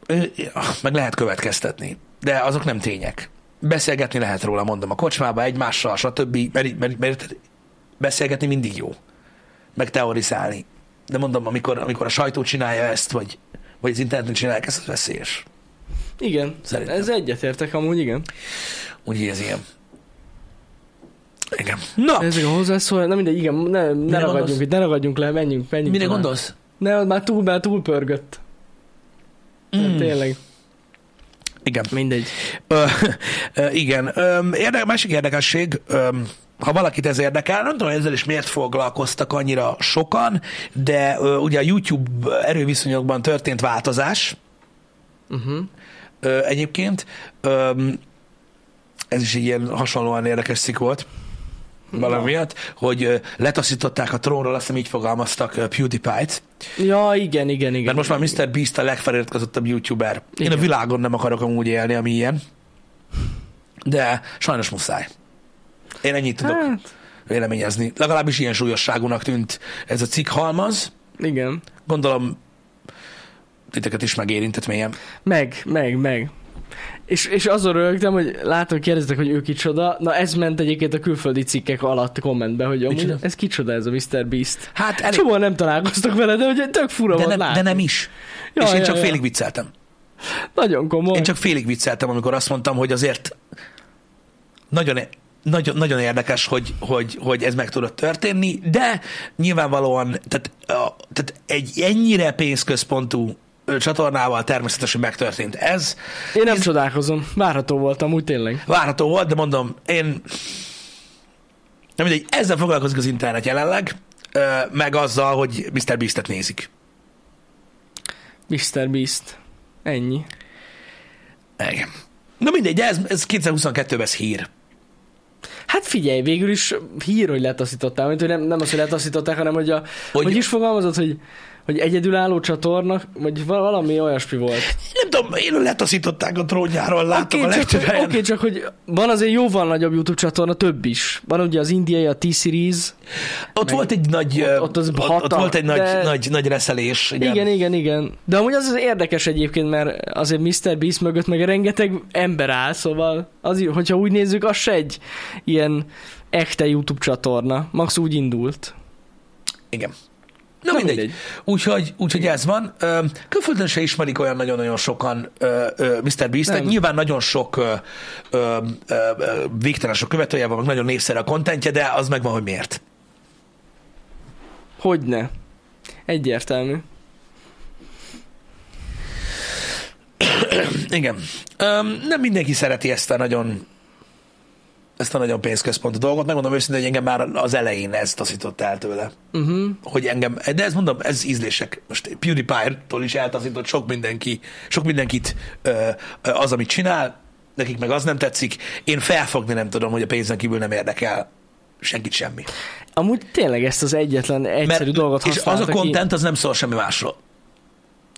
ö, meg lehet következtetni, de azok nem tények. Beszélgetni lehet róla, mondom, a kocsmába egymással, stb. Mert, mert, mert beszélgetni mindig jó, meg teorizálni. De mondom, amikor, amikor a sajtó csinálja ezt, vagy, vagy az interneten csinálják ezt, az veszélyes.
Igen.
Szerintem.
Ez egyetértek amúgy, igen.
Úgyhogy ez ilyen. Igen. Na, ez
Ezek a hozzászólás, na mindegy, igen, ne, ne
gondolsz?
ragadjunk itt, ne ragadjunk le, menjünk, menjünk.
mire
tovább.
gondolsz?
Ne, az már túl, már túl pörgött. Mm. Tényleg.
Igen.
Mindegy.
Ö, ö, igen. Ö, érde, másik érdekesség, ö, ha valakit ez érdekel, nem tudom ezzel is miért foglalkoztak annyira sokan, de ö, ugye a YouTube erőviszonyokban történt változás
Uh-huh.
ö, egyébként. Ö, ez is egy ilyen hasonlóan érdekes szik volt valami miatt, hogy ö, letaszították a trónról, azt hiszem így fogalmaztak ö, PewDiePie-t,
Ja, igen, igen, igen.
mert most már Mr. Beast a legfeliratkozottabb youtuber. Én a
Igen.
világon nem akarok amúgy élni, ami ilyen. De sajnos muszáj. Én ennyit tudok
Hát,
véleményezni. Legalábbis ilyen súlyosságúnak tűnt ez a cikk halmaz.
igen.
Gondolom titeket is megérintett mélyen.
Meg, meg, meg. És, és azon rögtem, hogy látom, kérdeztek, hogy ő kicsoda. Na ez ment egyébként a külföldi cikkek alatt kommentbe, hogy amúgy
Micsoda?
ez kicsoda ez a Mr. Beast.
Hát elég,
Csomóan nem találkoztak vele, de ugye tök fura
de,
volt
nem,
látni.
de nem is. Ja, és én csak félig vicceltem.
Nagyon komoly.
Én csak félig vicceltem, amikor azt mondtam, hogy azért nagyon, nagyon, nagyon érdekes, hogy, hogy, hogy ez meg tudott történni, de nyilvánvalóan tehát, a, tehát egy ennyire pénzközpontú ö, csatornával természetesen megtörtént ez.
Én nem csodálkozom. Várható voltam, úgy tényleg.
Várható volt, de mondom, én nem mindegy, ezzel foglalkozik az internet jelenleg, ö, meg azzal, hogy Mr. Beast-et nézik.
Mr. Beast. Ennyi.
Igen. Na mindegy, de ez, ez 2022-ben ez hír.
Hát figyelj, végül is hír, hogy letaszították, mint hogy nem, nem az, hogy letaszították, hanem hogy a,
Hogy-
hogy, hogy is fogalmazott, hogy, hogy egyedülálló csatorna, vagy val- valami olyasmi volt.
Nem tudom, én letaszították a trónjáról, látom
Oké,
a
csak,
legtöbb
hogy-
helyen.
oké, csak hogy van azért jóval nagyobb YouTube csatorna, több is. Van ugye az indiai, a T-Series.
Ott
Meg-
volt egy nagy,
ott-
ö,
ott az
ott, ott
hatalmas,
volt egy nagy,
de-
nagy, nagy reszelés. Igen.
Igen. igen, igen, igen. De amúgy az, az érdekes egyébként, mert azért Mr. Beast mögött meg rengeteg ember áll, szóval az, í- hogyha úgy nézzük, az se egy ilyen echte YouTube csatorna. Max úgy indult.
igen. Na, mindegy. mindegy.
mindegy.
Úgyhogy, úgyhogy ez van. Ö, Külföldön se ismerik olyan nagyon-nagyon sokan ö, ö, Mr. Beast-et.
Nem.
Nyilván nagyon sok ö, ö, ö, ö, végtelen sok követője van, meg nagyon népszerű a kontentje, de az megvan, hogy miért.
Hogyne. Egyértelmű.
Igen. Öm, nem mindenki szereti ezt a nagyon ezt a nagyon pénzközpontú dolgot. Megmondom őszintén, hogy engem már az elején ez taszított el tőle.
Uh-huh.
hogy engem, de ez mondom, ez ízlések. Most PewDiePie-tól is eltaszított sok mindenki, sok mindenkit ö, ö, az, amit csinál, nekik meg az nem tetszik. Én felfogni nem tudom, hogy a pénzen kívül nem érdekel senkit semmi.
Amúgy tényleg ezt az egyetlen egyszerű dolgot
és az a
használta ki.
content az nem szól semmi másról.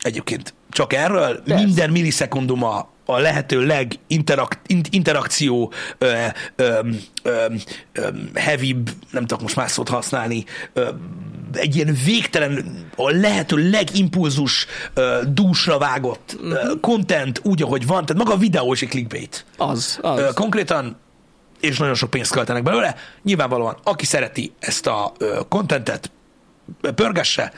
Egyébként. Csak erről
Persze.
minden millisekunduma a lehető leginterak, in- interakció ö, ö, ö, ö, heavybb, nem tudok most más szót használni, ö, egy ilyen végtelen, a lehető legimpulzus ö, dúsra vágott ö,
Mhm.
content úgy, ahogy van, tehát maga a videó is egy clickbait.
Az,
Ö,
az.
konkrétan, és nagyon sok pénzt költenek belőle. Nyilvánvalóan, aki szereti ezt a ö, kontentet, ö, pörgesse,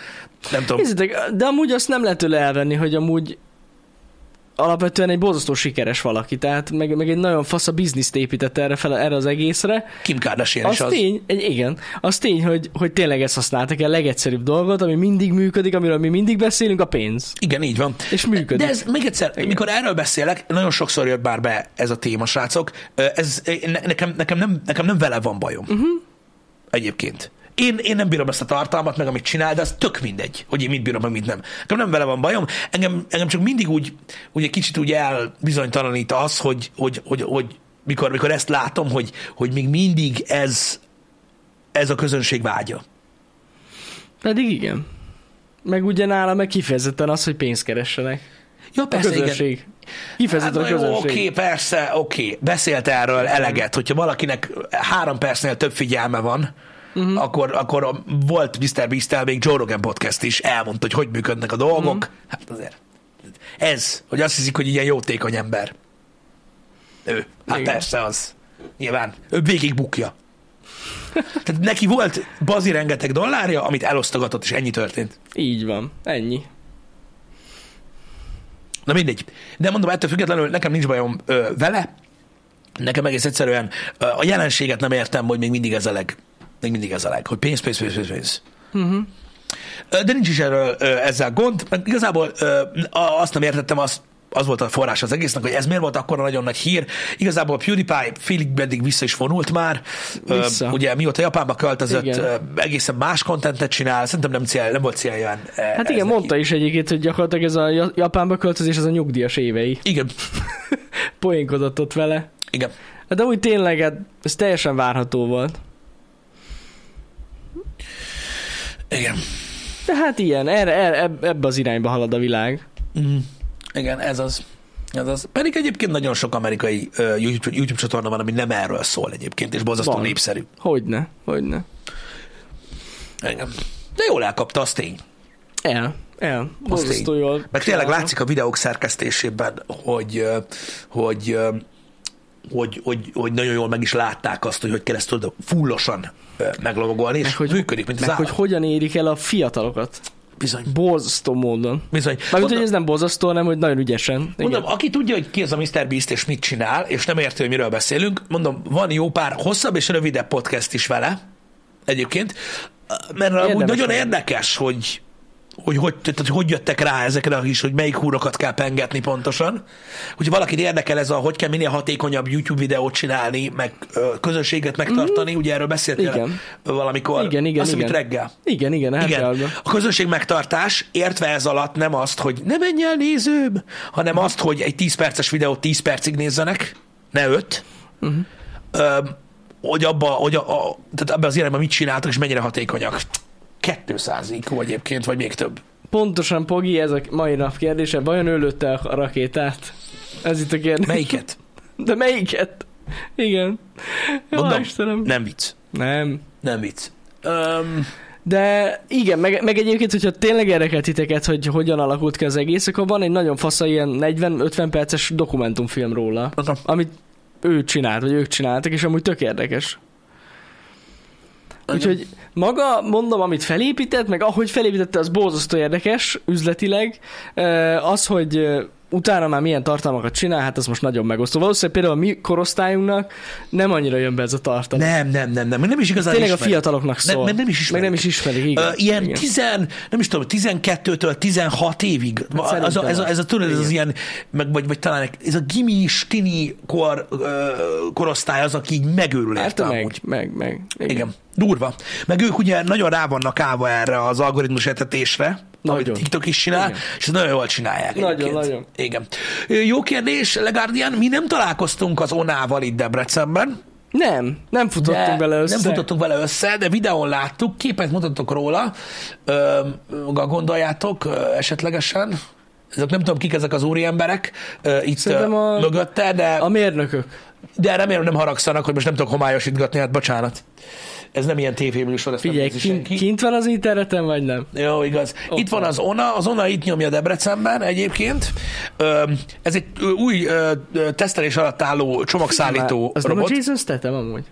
nem tudom.
Nézzétek, de amúgy azt nem lehet tőle elvenni, hogy amúgy alapvetően egy borzasztó sikeres valaki, tehát meg, meg egy nagyon fasz a bizniszt épített erre, fel, erre az egészre.
Kim Kardashian
Az,
is az.
tény, egy, igen, az tény, hogy, hogy tényleg ezt használtak el, legegyszerűbb dolgot, ami mindig működik, amiről mi mindig beszélünk, a pénz.
Igen, így van.
És működik.
De ez még egyszer, Igen. mikor erről beszélek, nagyon sokszor jött már be ez a téma, srácok. Ö, Ez, ne, nekem, nekem, nem, nekem nem vele van bajom. Uh-huh. Egyébként. Én, én nem bírom ezt a tartalmat, meg amit csinál, de az tök mindegy, hogy én mit bírom, meg mit nem. Nekem nem vele van bajom. Engem, engem csak mindig úgy, úgy egy kicsit úgy elbizonytalanít az, hogy, hogy, hogy, hogy mikor, mikor ezt látom, hogy, hogy még mindig ez, ez a közönség vágya.
Pedig igen. Meg ugye nála meg kifejezetten az, hogy pénzt keressenek.
Ja,
A
persze, igen.
közönség. Kifejezetten a
Hát, na jó,
közönség.
Oké, persze, oké. Beszélt erről eleget, hogyha valakinek három percnél több figyelme van,
Mhm.
Uh-huh. Akkor, akkor a, volt Mr. Beast-tel még Joe Rogan podcast is, elmondta, hogy hogy működnek a dolgok.
Mhm.
Uh-huh. Hát azért ez, hogy azt hiszik, hogy ilyen jótékony ember. Ő. Hát
Igen.
Igen. persze az. Nyilván. Ő végig bukja. Tehát neki volt bazi rengeteg dollárja, amit elosztogatott, és ennyi történt.
Így van. Ennyi.
Na mindegy. De mondom, ettől függetlenül nekem nincs bajom ö, vele. Nekem egész egyszerűen ö, a jelenséget nem értem, hogy még mindig ez a leg. Még mindig ez a leg. Hogy pénz, pénz, pénz, pénz, pénz.
Mhm.
Uh-huh. De nincs is erről ö, ezzel gond. Meg igazából ö, a- azt nem értettem, azt az volt a forrás az egésznek, hogy ez miért volt akkor nagyon nagy hír. Igazából a PewDiePie félig meddig vissza is vonult már. Ö,
Vissza.
Ugye mióta Japánba költözött,
Igen.
ö, egészen más kontentet csinál, szerintem nem, cél, nem volt célja. e,
Hát
ez
igen,
neki.
mondta is egyébként, hogy gyakorlatilag ez a Ja- Japánba költözés, az a nyugdíjas évei.
Igen,
Poénkodott ott vele.
igen.
Hát De úgy tényleg, hát ez teljesen várható volt.
Igen.
De hát ilyen, erre, erre, eb- ebbe az irányba halad a világ.
Mm. Igen, ez az. Ez az. Pedig egyébként nagyon sok amerikai ö, YouTube, YouTube csatorna van, ami nem erről szól egyébként, és borzasztó
Van.
népszerű.
Hogyne, hogyne.
Igen. De jól elkapta, az tény.
El, el. Borzasztó jól.
Meg tényleg
csinálta.
látszik a videók szerkesztésében, hogy, ö, hogy, ö, hogy, hogy, hogy nagyon jól meg is látták azt, hogy hogy kell ezt tudod fullosan ö, meglovagolni, és
Meg hogy-
hogy, működik, mint az
Meg hogy
állat.
hogyan érik el a fiatalokat.
Bizony.
Borzasztó módon.
Bizony.
Mármint, hogy
Mondom-
ez nem borzasztó, hanem hogy nagyon ügyesen. Igen.
Mondom, aki tudja, hogy ki az a Mr. Beast és mit csinál, és nem érti, hogy miről beszélünk, mondom, van jó pár hosszabb és rövidebb podcast is vele, egyébként, mert Érdemes amúgy
Érdemes
nagyon
megnézni.
érdekes, hogy hogy, hogy, tehát, hogy hogy jöttek rá ezekre a is, hogy melyik húrokat kell pengetni pontosan. Hogyha valakit érdekel ez a, hogy kell minél hatékonyabb YouTube videót csinálni, meg ö, közönséget megtartani, ugye erről beszéltél
Mhm. Igen.
valamikor,
Igen, igen,
azt hiszem,
igen.
itt reggel.
Igen, igen, hát
Igen.
igen.
A közönség megtartás értve ez alatt nem azt, hogy ne menj el nézőbb, hanem azt, hogy egy 10 perces videót 10 percig nézzenek, ne 5.
Mhm.
Uh-huh. hogy abba, hogy a, a, tehát abba az irányban mit csináltak, és mennyire hatékonyak. 200 IQ egyébként, vagy még több.
Pontosan, Pogi, ez a mai nap kérdése. Vajon ő lőtte a rakétát? Ez itt a kérdés.
Melyiket?
De melyiket? Igen. Jó,
Mondom.
Istenem.
Nem vicc.
Nem.
Nem vicc. Um,
De igen, meg, meg egyébként, hogyha tényleg érdekel titeket, hogy hogyan alakult ki az egész, akkor van egy nagyon fasza ilyen 40-50 perces dokumentumfilm róla, amit ő csinált, vagy ők csináltak, és amúgy tök érdekes. Úgyhogy maga, mondom, amit felépített, meg ahogy felépítette, az borzasztó érdekes üzletileg. Ö, Az, hogy ö, utána már milyen tartalmakat csinál, hát az most nagyon megosztó. Valószínűleg például a mi korosztályunknak nem annyira jön be ez a tartalom.
nem, nem, nem, nem. Nem is igazán
Tényleg a
ismerik.
fiataloknak
Nem,
szól.
mert nem is
meg
ismerik.
nem is ismerik, igen.
Igen, ilyen
igen.
igen. tizen, nem is tudom, 12-től 16 évig.
Hát szerintem
az a, ez, a, ez a tudod, ez
Igen.
az ilyen, meg, vagy, vagy talán ez a gimis, tini kor, ö, korosztály az, aki így megőrül
Hát
érte
meg,
amúgy.
meg, meg. Igen.
Igen. Durva. Meg ők ugye nagyon rá vannak állva erre az algoritmus etetésre,
Nagyon.
amit TikTok is csinál,
Igen.
igen. és ezt nagyon jól csinálják.
Nagyon,
egyébként.
nagyon.
Igen. Ö, Jó kérdés, Legárdián, mi nem találkoztunk az Onával itt Debrecenben,
Nem, nem futottunk
de
bele össze.
Nem futottunk vele össze, de videón láttuk, képet mutatok róla, ö, gondoljátok ö, esetlegesen. Ezek nem tudom, kik ezek az úri emberek ö, itt
Szerintem
ö,
a-
mögötte, de,
A
a...
mérnökök.
de remélem nem haragszanak, hogy most nem tudok homályosítgatni, hát bocsánat. Ez nem ilyen tévéműsor, ezt
Figyelj,
nem nézi
kint,
senki.
kint van az interneten, vagy nem?
Jó, igaz.
Ott
Itt van
van.
az ONA, az ONA itt nyomja Debrecenben egyébként. Ö, Ez egy ö, új ö, ö, tesztelés alatt álló
Már-
csomagszállító
Az nem a
robot.
Jason Statham amúgy?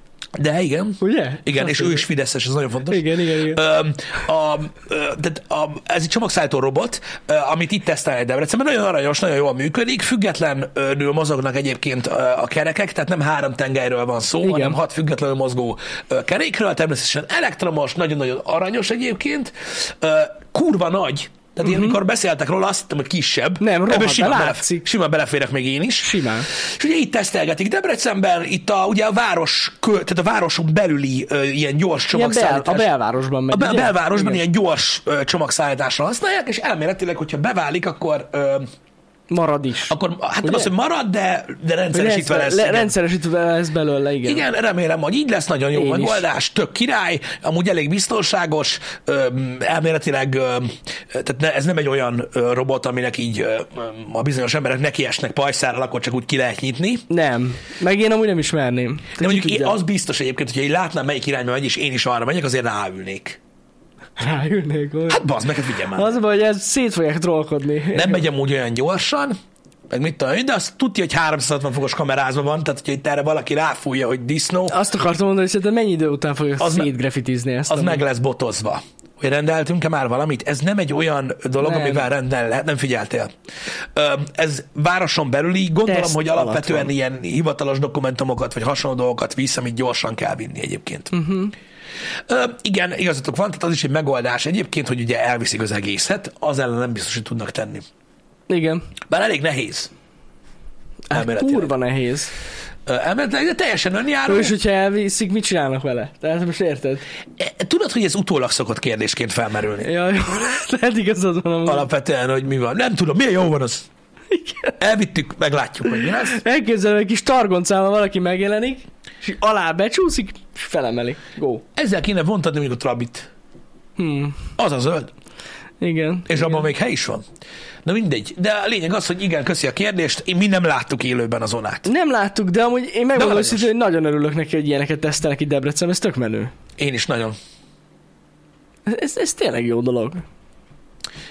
De igen.
Ugye?
Igen,
Azt
és ő is fideszes, ez nagyon fontos.
Igen, igen, igen.
Öm, a, ö, tehát a, ez egy csomagszállító robot, ö, amit itt tesztelnek Debrecenben, nagyon aranyos, nagyon jól működik, függetlenül mozognak egyébként ö, a kerekek, tehát nem három tengelyről van szó, Igen.
Igen.
hanem hat függetlenül mozgó ö, kerékről, természetesen elektromos, nagyon-nagyon aranyos egyébként, Ö, kurva nagy, tehát uh-huh. én, amikor beszéltek róla, azt hittem, hogy kisebb.
Mhm. Nem, rohadt,
Ebből
de
simán,
látszik.
belef- simán beleférek még én is.
Simán.
És ugye itt tesztelgetik Debrecenben, itt a, ugye a város, kö- tehát a városon belüli ö, ilyen gyors
Ilyen bel,
csomagszállítás.
a belvárosban megy.
A be-
ugye?
belvárosban
Igen.
ilyen gyors ö, csomagszállításra használják, és elméletileg, hogyha beválik, akkor, ö,
Marad is.
akkor hát nem
Ugye?
az, hogy marad, de, de rendszeresítve lesz.
Le-
igen.
rendszeresítve lesz belőle, igen.
Igen, remélem, hogy így lesz, nagyon jó
Én is.
megoldás, tök király, amúgy elég biztonságos, öm, elméletileg, öm, tehát ne, ez nem egy olyan ö, robot, aminek így ö, öm, a bizonyos emberek nekiesnek pajszárral, akkor csak úgy ki lehet nyitni.
Nem. Meg én amúgy nem ismerném. Tehát
De mondjuk én,
tudja?
az biztos egyébként, hogyha én látnám, melyik irányba megy, és én is arra megyek, azért ráülnék.
Ráülnék, hogy...
Hát bazd meg, hát figyelj már.
Az a baj, hogy ez szét fogják trollkodni.
nem megy amúgy olyan gyorsan, meg mit tudom én, de azt tudja, hogy 360 fokos kamerázva van, tehát hogyha itt erre valaki ráfújja, hogy disznó,
Azt akartam mondani, hogy szerintem mennyi idő után fogják
Az
az
me-
szétgrafitizni ezt.
az
amúgy.
meg lesz botozva. Hogy rendeltünk-e már valamit? Ez nem egy olyan dolog, nem.
Nem.
amivel rendel lehet, nem figyeltél. Ö, Ez városon belüli, gondolom,
Teszt
hogy
alatt
alapvetően
van.
ilyen hivatalos dokumentumokat, vagy hasonló dolgokat visz, amit gyorsan kell vinni egyébként.
Mhm.
Uh-huh. Ö, igen, igazatok van, tehát az is egy megoldás egyébként, hogy ugye elviszik az egészet, az ellen nem biztos, hogy tudnak tenni.
Igen.
Bár elég nehéz.
Hát
Elméletileg.
kurva nehéz.
Ö, Elméletileg, de teljesen önjáró.
És hogyha elviszik, mit csinálnak vele? Tehát most érted?
E, Tudod, hogy ez utólag szokott kérdésként felmerülni.
Ja, jó, lehet igazad van amúgy.
Alapvetően, hogy mi van. Nem tudom, milyen jó van az.
Igen.
Elvittük, meglátjuk, hogy mi lesz.
Elképzelem, egy kis targoncával valaki megjelenik, és alá becsúszik, és felemeli. Go.
Ezzel kéne vontatni mondjuk a Trabit.
Hmm.
Az a zöld.
Igen.
És abban még hely is van. Na mindegy. De a lényeg az, hogy igen, köszi a kérdést. Én mi nem láttuk élőben a zonát.
Nem láttuk, de amúgy én megmondom
aranyos.
őszintén, hogy nagyon örülök neki, hogy ilyeneket tesztelnek itt Debrecen, ez tök menő.
Én is nagyon.
Ez, ez tényleg jó dolog.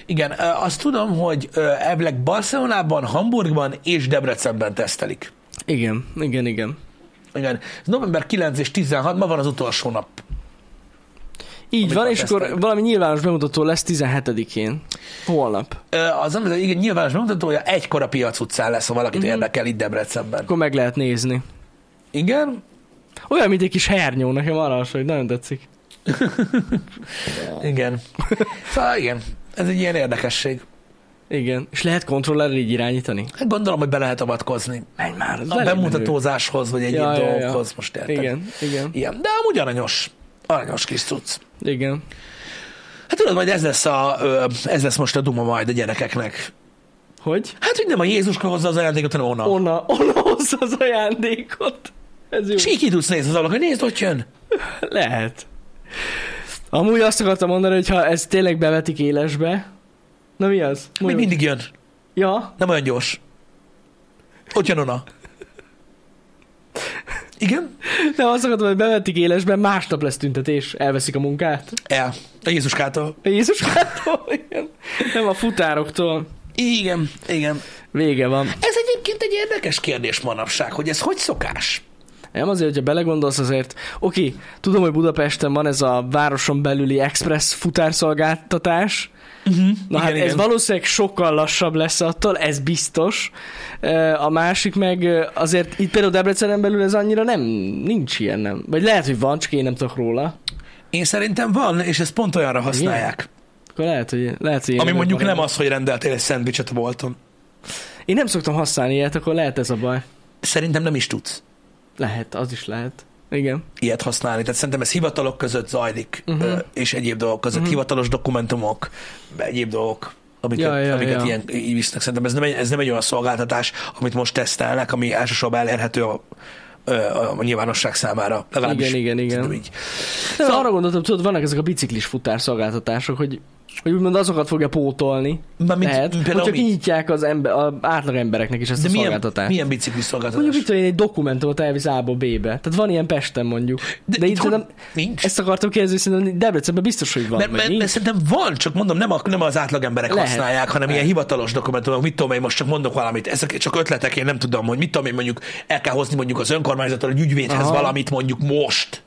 Igen, ö, azt tudom, hogy ö, elvileg Barcelonában, Hamburgban és Debrecenben tesztelik.
Igen, igen, igen.
Igen. Ez november 9 és 16, ma van az utolsó nap.
Így
Amikor
van, és akkor
tesztelik.
valami nyilvános bemutató lesz 17-én. Holnap.
Ö, Az nem, igen, nyilvános bemutatója egykor a piac utcán lesz, ha valakit
Mhm.
mm-hmm. érdekel itt Debrecenben.
Akkor meg lehet nézni.
Igen?
Olyan, mint egy kis hernyó, nekem arra has, hogy nagyon tetszik.
Igen. Szóval igen, ez egy ilyen érdekesség.
Igen. És lehet kontrollerrel így irányítani?
Hát gondolom, hogy be lehet avatkozni.
Menj már, az
A
elég
bemutatózáshoz, vagy egyéb
Ja, ja, ja.
dolgokhoz most érted.
menő. Igen, igen,
Igen, de amúgy aranyos. Aranyos kis cucc.
igen.
Hát tudod, majd ez lesz, a, ö, ez lesz most a duma majd a gyerekeknek.
Hogy?
Hát, hogy nem a Jézuska hozza az ajándékot, hanem onnan. On.
Onna, onna hozza az ajándékot. Ez jó.
És így ki tudsz nézni az ablakon, hogy nézd, ott jön.
Lehet. Amúgy azt akartam mondani, hogy ha ez tényleg bevetik élesbe, na mi az?
Még
Mondj-
mindig jön.
Ja,
Nem olyan gyors. Ott jön Ona. Igen?
de azt akartam, hogy bevetik élesbe, másnap lesz tüntetés, elveszik a munkát.
El. E, A Jézuskától.
Jézus hát, Krisztustól, igen. Nem a futároktól.
Igen, igen.
Vége van.
Ez egyébként egy érdekes kérdés manapság, hogy ez hogy szokás?
Nem azért, hogyha belegondolsz azért, oké, tudom, hogy Budapesten van ez a városon belüli express futárszolgáltatás,
Uh-huh.
Na igen, hát ez valószínűleg sokkal lassabb lesz attól, ez biztos. Ö, A másik meg ö, azért itt például Debrecenen belül ez annyira nem, nincs ilyen nem. Vagy lehet, hogy van, csak én nem tudok róla.
Én szerintem van, és ezt pont olyanra használják. Igen.
Akkor lehet, hogy, lehet, hogy
Ami
én
mondjuk nem
maradok.
az, hogy rendeltél egy szendvicset a bolton.
Én nem szoktam használni ilyet, akkor lehet ez a baj.
Szerintem nem is tudsz
Lehet, az is lehet. Igen.
ilyet használni. Tehát szerintem ez hivatalok között zajlik,
Mhm.
uh-huh. és egyéb dolgok között. Uh-huh. Hivatalos dokumentumok, egyéb dolgok, amiket, ja, ja, amiket ja. ilyen így visznek. Szerintem ez nem, egy, ez nem egy olyan szolgáltatás, amit most tesztelnek, ami elsősorban elérhető a, a, a nyilvánosság számára. Legalábbis
Igen, igen, igen.
szerintem Így.
De
Szóval-
arra gondoltam, tudod, vannak ezek a biciklis futárszolgáltatások, hogy hogy úgymond azokat fogja pótolni.
Na, mint,
Lehet, hogy csak
mi?
nyitják az ember, a átlag embereknek is ezt
De
a
milyen,
szolgáltatást.
milyen bicikli szolgáltatás?
Mondjuk mit tudom én, egy dokumentumot elvisz A-ból B-be. Tehát van ilyen Pesten mondjuk. De, de itt
itthon
szerintem,
nincs.
ezt akartam kérdezni, szerintem Debrecenben biztos, hogy van.
Mert,
vagy
mert,
nincs.
mert szerintem van, csak mondom, nem, a, nem az átlagemberek
Lehet.
használják, hanem ilyen hivatalos dokumentumok, mit tudom én, most csak mondok valamit, ezek csak ötletek, én nem tudom, hogy mit tudom én, mondjuk el kell hozni mondjuk az önkormányzattól, egy ügyvédhez
Aha.
valamit mondjuk most.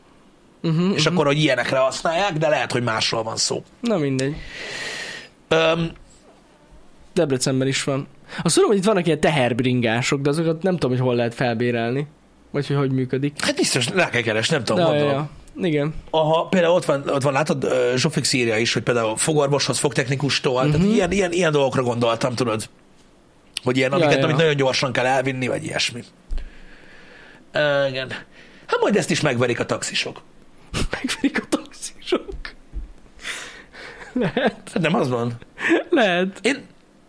Mhm.
Uh-huh, és akkor, hogy ilyenekre használják, de lehet, hogy másról van szó.
Na mindegy.
Öm,
Debrecenben is van. Azt tudom, hogy itt vannak ilyen teherbringások, de azokat nem tudom, hogy hol lehet felbérelni. Vagy hogy hogy működik.
hát biztos rá kell keresni, nem tudom,
De, ja,
gondolom.
ja. Igen.
Aha, például ott van, ott van látod, ö, Zsófik szírja is, hogy például fogorvoshoz, fogtechnikustól, uh-huh. tehát ilyen, ilyen, ilyen dolgokra gondoltam, tudod, hogy ilyen,
Ja,
amiket,
ja.
amit nagyon gyorsan kell elvinni, vagy ilyesmi. Ö, igen. Hát majd ezt is megverik a taxisok.
Megverik a taxisok. Lehet,
Hát nem az van.
lehet.
Én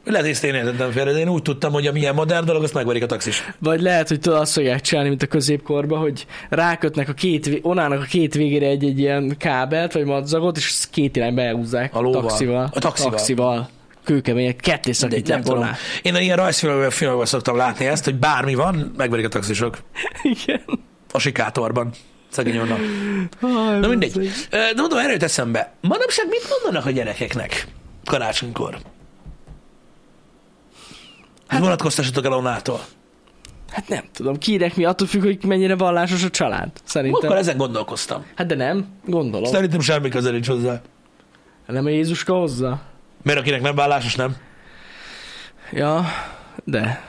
lehet, hogy ezt én értettem félre, de én úgy tudtam, hogy amilyen modern dolog, azt megverik a taxis.
Vagy lehet, hogy tudod azt fogják csinálni, mint a középkorban, hogy rákötnek a két, vé- onának a két végére egy-egy ilyen kábelt, vagy madzagot, és ezt két irányba elhúzzák.
A lóval.
Taxival.
A taxival.
taxival. Kőkemények, ketté
Mindegy, nem
szakítják
tudom.
volna.
Én ilyen rajzfilmekben filmekben szoktam látni ezt, hogy bármi van, megverik a taxisok.
Igen.
A sikátorban. Szegény onnan. Na mindegy. Ö, De mondom, erről jut eszembe. Manapság mit mondanak a gyerekeknek karácsonykor? Hát vonatkoztassatok el onnától.
Hát nem tudom, kinek mi, attól függ, hogy mennyire vallásos a család. Szerintem.
Akkor ezen gondolkoztam.
Hát de nem, gondolom. Hát
Szerintem semmi közel nincs hozzá.
Nem a Jézuska hozzá?
Mert akinek nem vállásos, nem?
Ja, de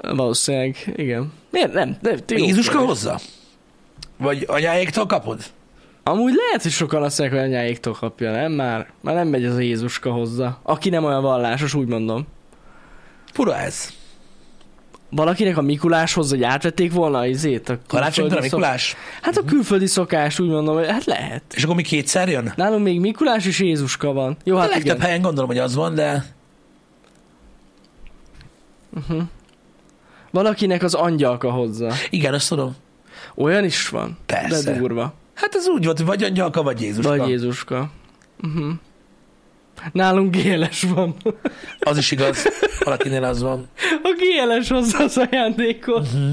valószínűleg, igen. Miért nem? nem jó
Jézuska
kérdés.
hozzá? Vagy anyáéktól kapod?
Amúgy lehet, hogy sokan azt mondják, hogy anyáiktól kapja, nem? Már, már nem megy az a Jézuska hozzá. Aki nem olyan vallásos, úgy mondom.
Fura ez.
Valakinek a Mikuláshoz, hogy átvették volna az izét? A
Karácsonykor a
külföldi szok-
Mikulás.
Hát a külföldi szokás, úgy mondom, hogy hát lehet.
És akkor mi kétszer jön?
Nálunk még Mikulás és Jézuska van. Jó,
A
hát
legtöbb
igen.
helyen gondolom, hogy az van, de
Valakinek az angyalka hozzá.
igen, azt tudom.
Olyan is van.
Persze.
De durva.
Hát ez úgy volt, hogy vagy angyalka, vagy Jézuska.
Vagy Jézuska. Uh-huh. Nálunk GLS van.
Az is igaz. Valakinél az van.
A GLS hozza az ajándékot.
Mhm.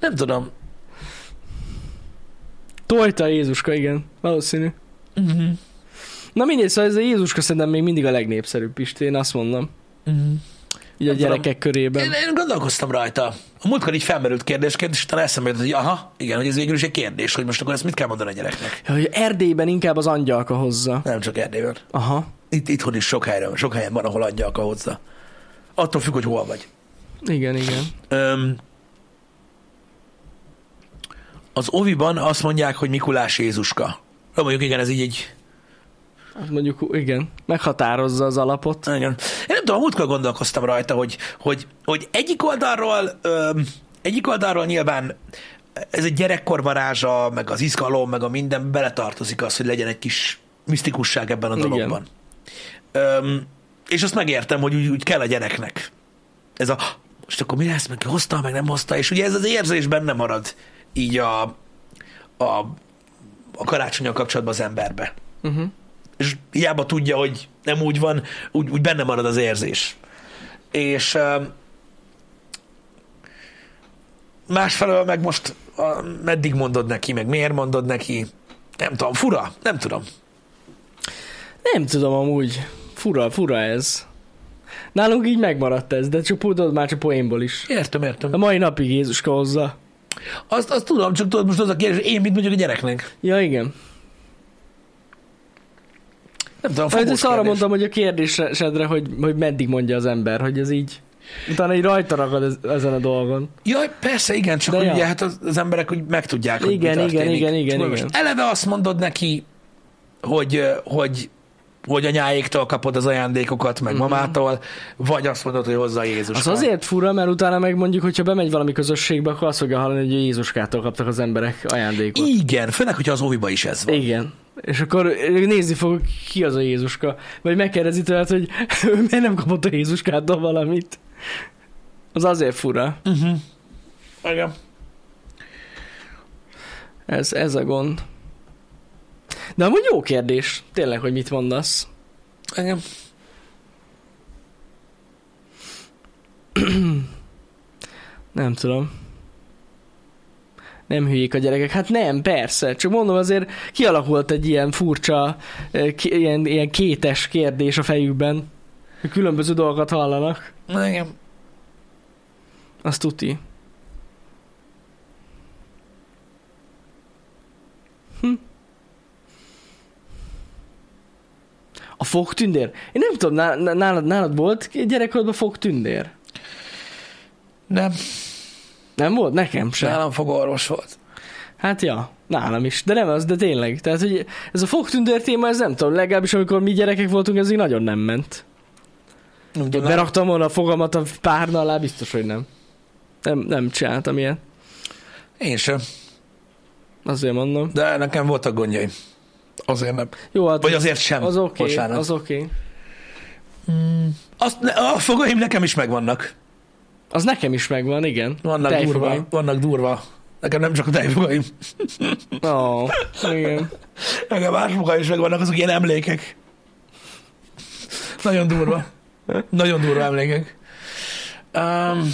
Nem tudom.
Tojta Jézuska, igen. Valószínű.
Uh-huh.
Na mindegy, szóval ez a Jézuska szerintem még mindig a legnépszerűbb Pisti, én azt mondom.
Uh-huh.
Így a
Nem tudom.
gyerekek körében.
Én, én gondolkoztam rajta. A múltkor így felmerült kérdésként, és utána eszembe jutott, hogy aha, igen, hogy ez végül is egy kérdés, hogy most akkor ezt mit kell mondani a gyereknek.
Ja, Hogy Erdélyben inkább az angyalka hozza.
Nem csak Erdélyben.
Aha.
Itt, itthon is sok helyen, sok helyen van, ahol adják a hozzá. Attól függ, hogy hol vagy.
Igen, igen.
Öm, az Oviban azt mondják, hogy Mikulás Jézuska. Na, mondjuk igen, ez így egy...
Azt Hát mondjuk, igen. Meghatározza az alapot.
Igen. Én nem tudom, a múltkor gondolkoztam rajta, hogy, hogy, hogy egyik oldalról, öm, egyik oldalról nyilván ez egy gyerekkor varázsa, meg az izgalom, meg a minden beletartozik az, hogy legyen egy kis misztikusság ebben a
Igen.
dologban. Öm, és azt megértem, hogy úgy, úgy kell a gyereknek. Ez a most akkor mi lesz, meg hozta, meg nem hozta, és ugye ez az érzés benne marad így a, a, a karácsonyal kapcsolatban az emberbe
Uh-huh.
és hiába tudja, hogy nem úgy van, úgy, úgy benne marad az érzés. És um, ö, másfelől meg most a, meddig mondod neki, meg miért mondod neki, nem tudom, fura, nem tudom.
Nem tudom amúgy. Fura, fura ez. Nálunk így megmaradt ez, de csak tudod már csak poénból is.
Értem,
A
értem.
mai napig Jézuska hozza.
Azt, azt tudom, csak tudod, most az a kérdés, én mit mondjuk a gyereknek?
Ja, igen.
Nem tudom,
Hát
fogós
ezt arra
kérdés.
mondtam, hogy a kérdésedre, hogy, hogy meddig mondja az ember, hogy ez így. Utána így rajta ragad ez, ezen a dolgon.
Jaj, persze, igen, csak
De
hogy
ja.
ugye, hát az, az emberek úgy megtudják, hogy
Igen,
mi
igen,
történik.
igen, igen,
Csak most
igen.
Eleve azt mondod neki, hogy, ö, hogy, hogy anyáéktól kapod az ajándékokat, meg mamától, vagy azt mondod, hogy hozzá Jézus.
Mhm. Az azért fura, mert utána meg mondjuk, hogyha bemegy valami közösségbe, akkor azt fogja hallani, hogy Jézuskától kaptak az emberek ajándékot.
Igen, főleg, hogyha az óviba is ez van.
Igen. És akkor nézni fogok, ki az a Jézuska. Vagy megkérdezi tőled, hogy ő miért nem kapott a Jézuskától valamit. Az azért fura.
Uh-huh. Igen.
Ez, ez a gond. De amúgy jó kérdés. Tényleg, hogy mit mondasz.
Engem.
Nem tudom. Nem hülyék a gyerekek. Hát nem, persze. Csak mondom, azért kialakult egy ilyen furcsa, eh, ki- ilyen, ilyen kétes kérdés a fejükben. hogy Különböző dolgokat hallanak.
Engem.
Azt tuti. Hm. A fogtündér? Én nem tudom, ná- ná- nálad, nálad volt gyerekkorodban fogtündér?
Nem,
Nem volt? Nekem
Sem.
sem.
nálam fogorvos volt.
Hát ja, nálam is. De nem az, de tényleg. Tehát, hogy ez a fogtündér téma, ez nem tudom, legalábbis amikor mi gyerekek voltunk, ez így nagyon nem ment.
Nem
Hogy
tudom, nem.
beraktam volna a fogamat a párna alá, biztos, hogy nem. Nem, nem csináltam ilyen.
Én sem,
Azért mondom.
de nekem voltak gondjaim. Azért nem.
Jó, hát
Vagy azért sem.
az oké, okay,
Bocsánat. Mm.
az oké. Okay.
Azt, ne- a fogaim nekem is megvannak.
Az nekem is megvan, igen.
Vannak
Tejfogaim.
durva. Vannak durva. Nekem nem csak a tejfogaim.
Ó, igen.
Nekem más fogaim is megvannak, azok ilyen emlékek. Nagyon durva. Nagyon durva emlékek. Um,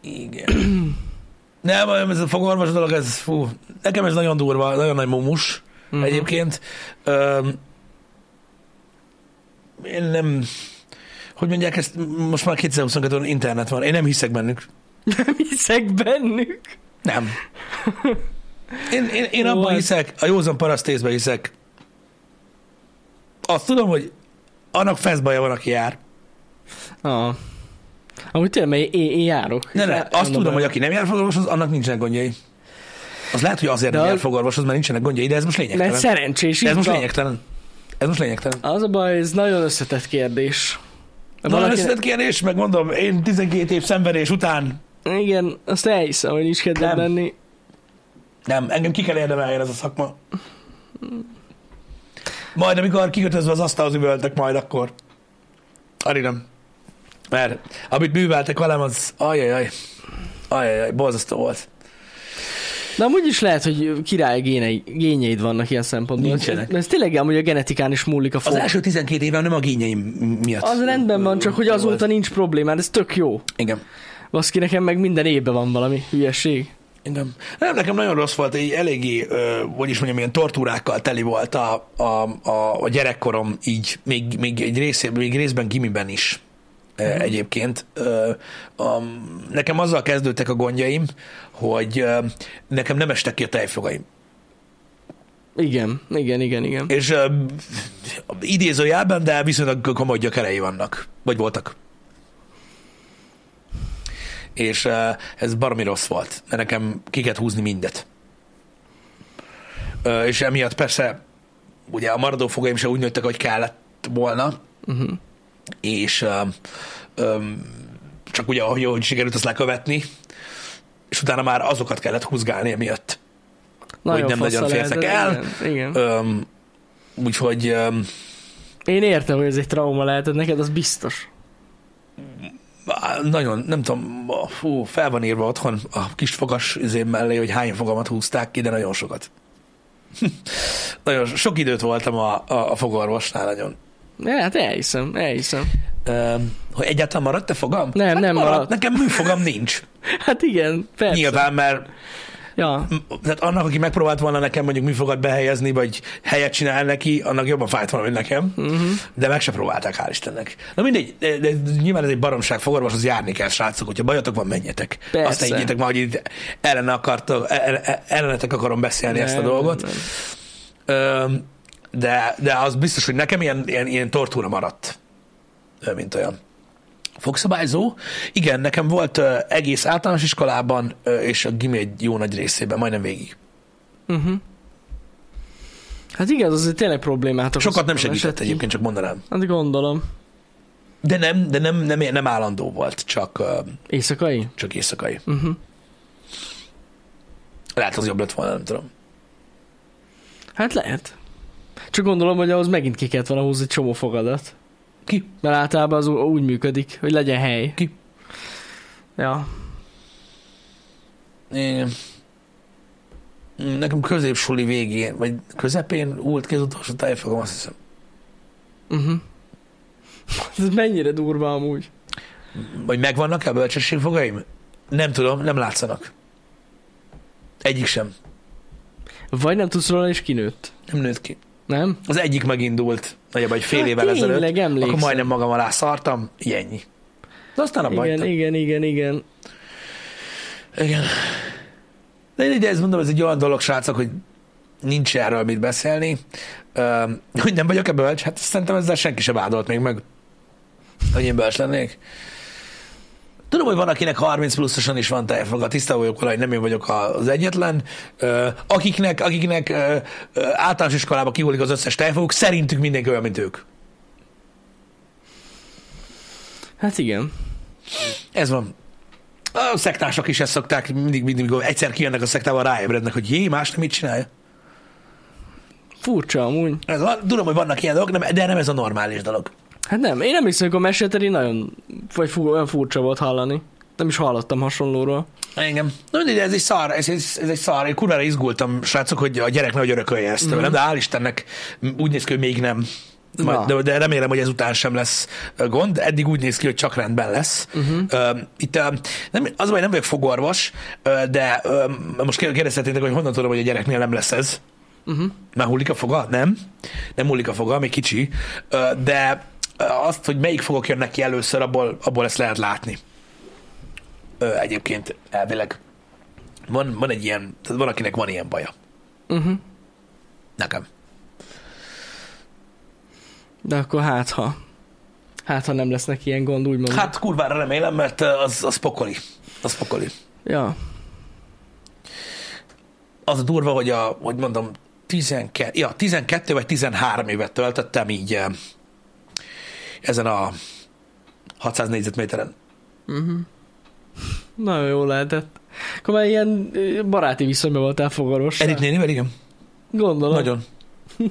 igen. Nem, ez a fogorvos dolog, ez fú. Nekem ez nagyon durva, nagyon nagy mumus.
Mhm.
uh-huh. egyébként. Öm, én nem... Hogy mondják ezt? Most már 2022-ben internet van. Én nem hiszek bennük.
Nem hiszek bennük.
Nem. Én, én, én
Jó
abban
vagy.
hiszek, a józan parasztészben hiszek. Azt tudom, hogy annak feszbaja van, aki jár.
Ó. Amúgy tényleg, mert én, én járok.
Ne, ne, azt
Mondom,
tudom, hogy aki nem jár fogorvoshoz, annak nincsenek gondjai. Az lehet, hogy azért
De
nem
az-
jár fogorvoshoz, mert nincsenek gondjai, de ez most
Mert
lényegtelen.
szerencsés,
Ez
így
most
van.
lényegtelen. Ez most lényegtelen.
Az a baj, ez nagyon összetett kérdés.
Nagyon összetett kérdés, meg mondom, én 12 év szenvedés után
Igen, azt elhiszem, hogy nincs kedved
Nem.
lenni.
Nem, engem ki kell érdemeljen ez a szakma. Majd, amikor kikötözve az asztalhoz üvöltök, majd akkor. Ari nem. Mert amit műveltek velem, az ajajaj. Ajajaj, borzasztó volt.
De amúgy is lehet, hogy király génei, gényeid vannak ilyen szempontból.
Nincsenek.
Ez, ez tényleg amúgy a genetikán is múlik a
Az
fog.
első 12 évem nem a gényeim miatt.
Az rendben van, csak hogy azóta
Volt.
nincs problémád, ez tök jó.
Igen.
Baszki, nekem meg minden évben van valami hülyeség.
Igen. Nem, nekem nagyon rossz volt, így eléggé, ö, hogy is mondjam, ilyen tortúrákkal teli volt a, a, a, a gyerekkorom, így még, még egy részében, még részben gimiben is ö, egyébként. Ö, a, nekem azzal kezdődtek a gondjaim, hogy ö, nekem nem estek ki a tejfogaim.
Igen, igen, igen, igen.
És ö, idézőjelben, de viszonylag komoly gyökerei vannak, vagy voltak. És ö, ez baromi rossz volt, mert nekem ki kellett húzni mindet. Ö, és emiatt persze ugye a maradó fogaim se úgy nőttek, hogy kellett volna,
Uh-huh.
és ö, ö, csak ugye ahogy, ahogy sikerült azt lekövetni, és utána már azokat kellett húzgálni emiatt.
Nagyon
nem
fasza
nagyon
lehet,
fértek
de
el.
Igen, igen.
Ö, úgyhogy ö,
Én értem, hogy ez egy trauma lehetett neked, az biztos.
Á, nagyon, nem tudom, a- fú, fel van írva otthon a kis fogas üzém mellé, hogy hány fogamat húzták ki, de nagyon sokat. nagyon so- sok időt voltam a, a, a fogorvosnál nagyon.
Ja, hát elhiszem, elhiszem.
Öm, hogy egyáltalán maradt-e fogam?
Nem,
hát
nem maradt.
Nekem műfogam nincs.
Hát igen, persze.
Nyilván, mert
Ja,
m- tehát annak, aki megpróbált volna nekem mondjuk műfogat behelyezni, vagy helyet csinál neki, annak jobban fájt volna, mint nekem.
uh-huh.
De meg se próbálták, hál' Istennek. Na mindegy, de, de nyilván ez egy baromság, fogorvoshoz járni kell, srácok, hogyha bajotok van, menjetek.
Persze.
Azt ne higgyétek már, hogy itt ellene akartok, el- el- ellenetek akarom beszélni nem, ezt a
Nem,
dolgot.
nem, nem.
Öm, De, de az biztos, hogy nekem ilyen, ilyen, ilyen tortúra maradt, Ö, mint olyan. Fogszabályzó? Igen, nekem volt ö, egész általános iskolában, ö, és a gimi egy jó nagy részében, majdnem végig.
Uh-huh. Hát igen, az azért tényleg problémát okoz.
Sokat nem
Ha esett
segített
ki.
egyébként, csak mondanám.
Hát gondolom.
De nem, de nem, nem, nem állandó volt, csak, ö,
Éjszakai?
csak éjszakai.
Uh-huh.
Lehet, az jobb lett volna, nem tudom.
Hát lehet. Csak gondolom, hogy ahhoz megint ki kellett volna húzni csomó fogadat.
Ki?
Mert általában az ú- úgy működik, hogy legyen hely.
Ki?
Ja.
Igen. Nekem középsuli végén, vagy közepén út ki az utolsó tájfogom, azt hiszem.
Uh-huh. Ez mennyire durva amúgy.
Vagy megvannak-e a bölcsességfogaim? Nem tudom, nem látszanak. Egyik sem.
Vagy nem tudsz róla, és kinőtt.
Nem nőtt ki.
Nem?
Az egyik megindult, nagyjából egy fél
Hát
évvel
tényleg,
ezelőtt. Akkor
emlékszem.
majdnem magam alá szartam, ilyennyi. De aztán abba
Igen,
hagytam.
igen, igen, igen.
Igen. De én ugye ezt mondom, ez egy olyan dolog, srácok, hogy nincs erről mit beszélni. Öm, Hogy nem vagyok-e bölcs? Hát szerintem ezzel senki sem vádolt még meg, hogy én bölcs lennék. Tudom, hogy van, akinek 30 pluszosan is van tejfoga, tiszta vagyok vele, hogy nem én vagyok az egyetlen. Ö, Akiknek, akiknek ö, ö, általános iskolába kihulik az összes tejfoguk, szerintük mindenki olyan, mint ők.
Hát igen.
Ez van. A szektások is ezt szokták, mindig, mindig, mikor egyszer kijönnek a szektával, ráébrednek, hogy jé, más nem mit csinálja.
Furcsa amúgy.
Ez van, tudom, hogy vannak ilyen dolgok, nem, de nem ez a normális dolog.
Hát nem, én emlékszem, amikor mesélted, én nagyon, vagy fú, olyan furcsa volt hallani. Nem is hallottam hasonlóról.
Engem. Na mindegy, ez egy szar, ez, ez, ez egy szar. Én kurvára izgultam, srácok, hogy a gyerek nehogy örökölje ezt tőlem, de hál' Istennek úgy néz ki, hogy még nem. Majd,
Na.
de, de remélem, hogy ezután sem lesz ö, gond. Eddig úgy néz ki, hogy csak rendben lesz. Uh-huh. Itt ö, nem, az a baj, nem vagyok fogorvos, ö, de ö, most kérdezhetétek, hogy honnan tudom, hogy a gyereknél nem lesz ez.
Uh-huh.
Már hullik a foga? Nem. Nem hullik a foga, még kicsi. Ö, De ö, azt, hogy melyik fogok jönnek ki először, abból, abból ezt lehet látni. Ö, Egyébként elvileg. Van, van egy ilyen, tehát van, akinek van ilyen baja.
Uh-huh.
Nekem.
De akkor hát ha. Hát ha nem lesznek ilyen gond, úgymond.
Hát kurvára remélem, mert ö, az, az pokoli. Az pokoli.
Ja.
Az a durva, hogy a, hogy mondom, 12, ja, 12 vagy 13 évet töltöttem így ö, ezen a 600 négyzetméteren.
Nagyon jól lehetett. Akkor már ilyen ö, baráti viszonyban voltál fogaros.
Edith nénivel, igen?
Gondolom.
Nagyon.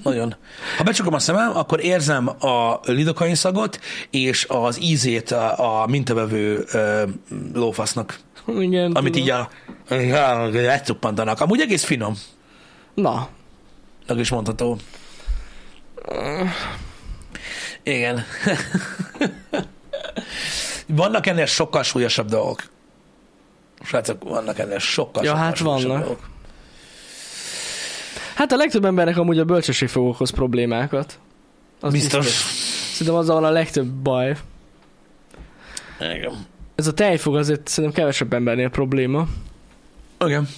Nagyon. Ha becsukom a szemem, akkor érzem a lidokain szagot és az ízét a, a mintavevő ö, lófasznak,
Igen,
amit
tudom.
így a ja, elcuppantanak. Amúgy egész finom,
Na,
meg is mondható. Igen. Vannak ennél sokkal súlyosabb dolgok. Srácok, vannak ennél sokkal,
Ja,
sokkal
hát
súlyosabb
vannak.
dolgok.
Hát a legtöbb embernek amúgy a bölcsesség fog okoz problémákat. Az
Biztos.
Szerintem azzal van a legtöbb baj.
Igen.
Ez a tejfog azért szerintem kevesebb embernél probléma.
Igen.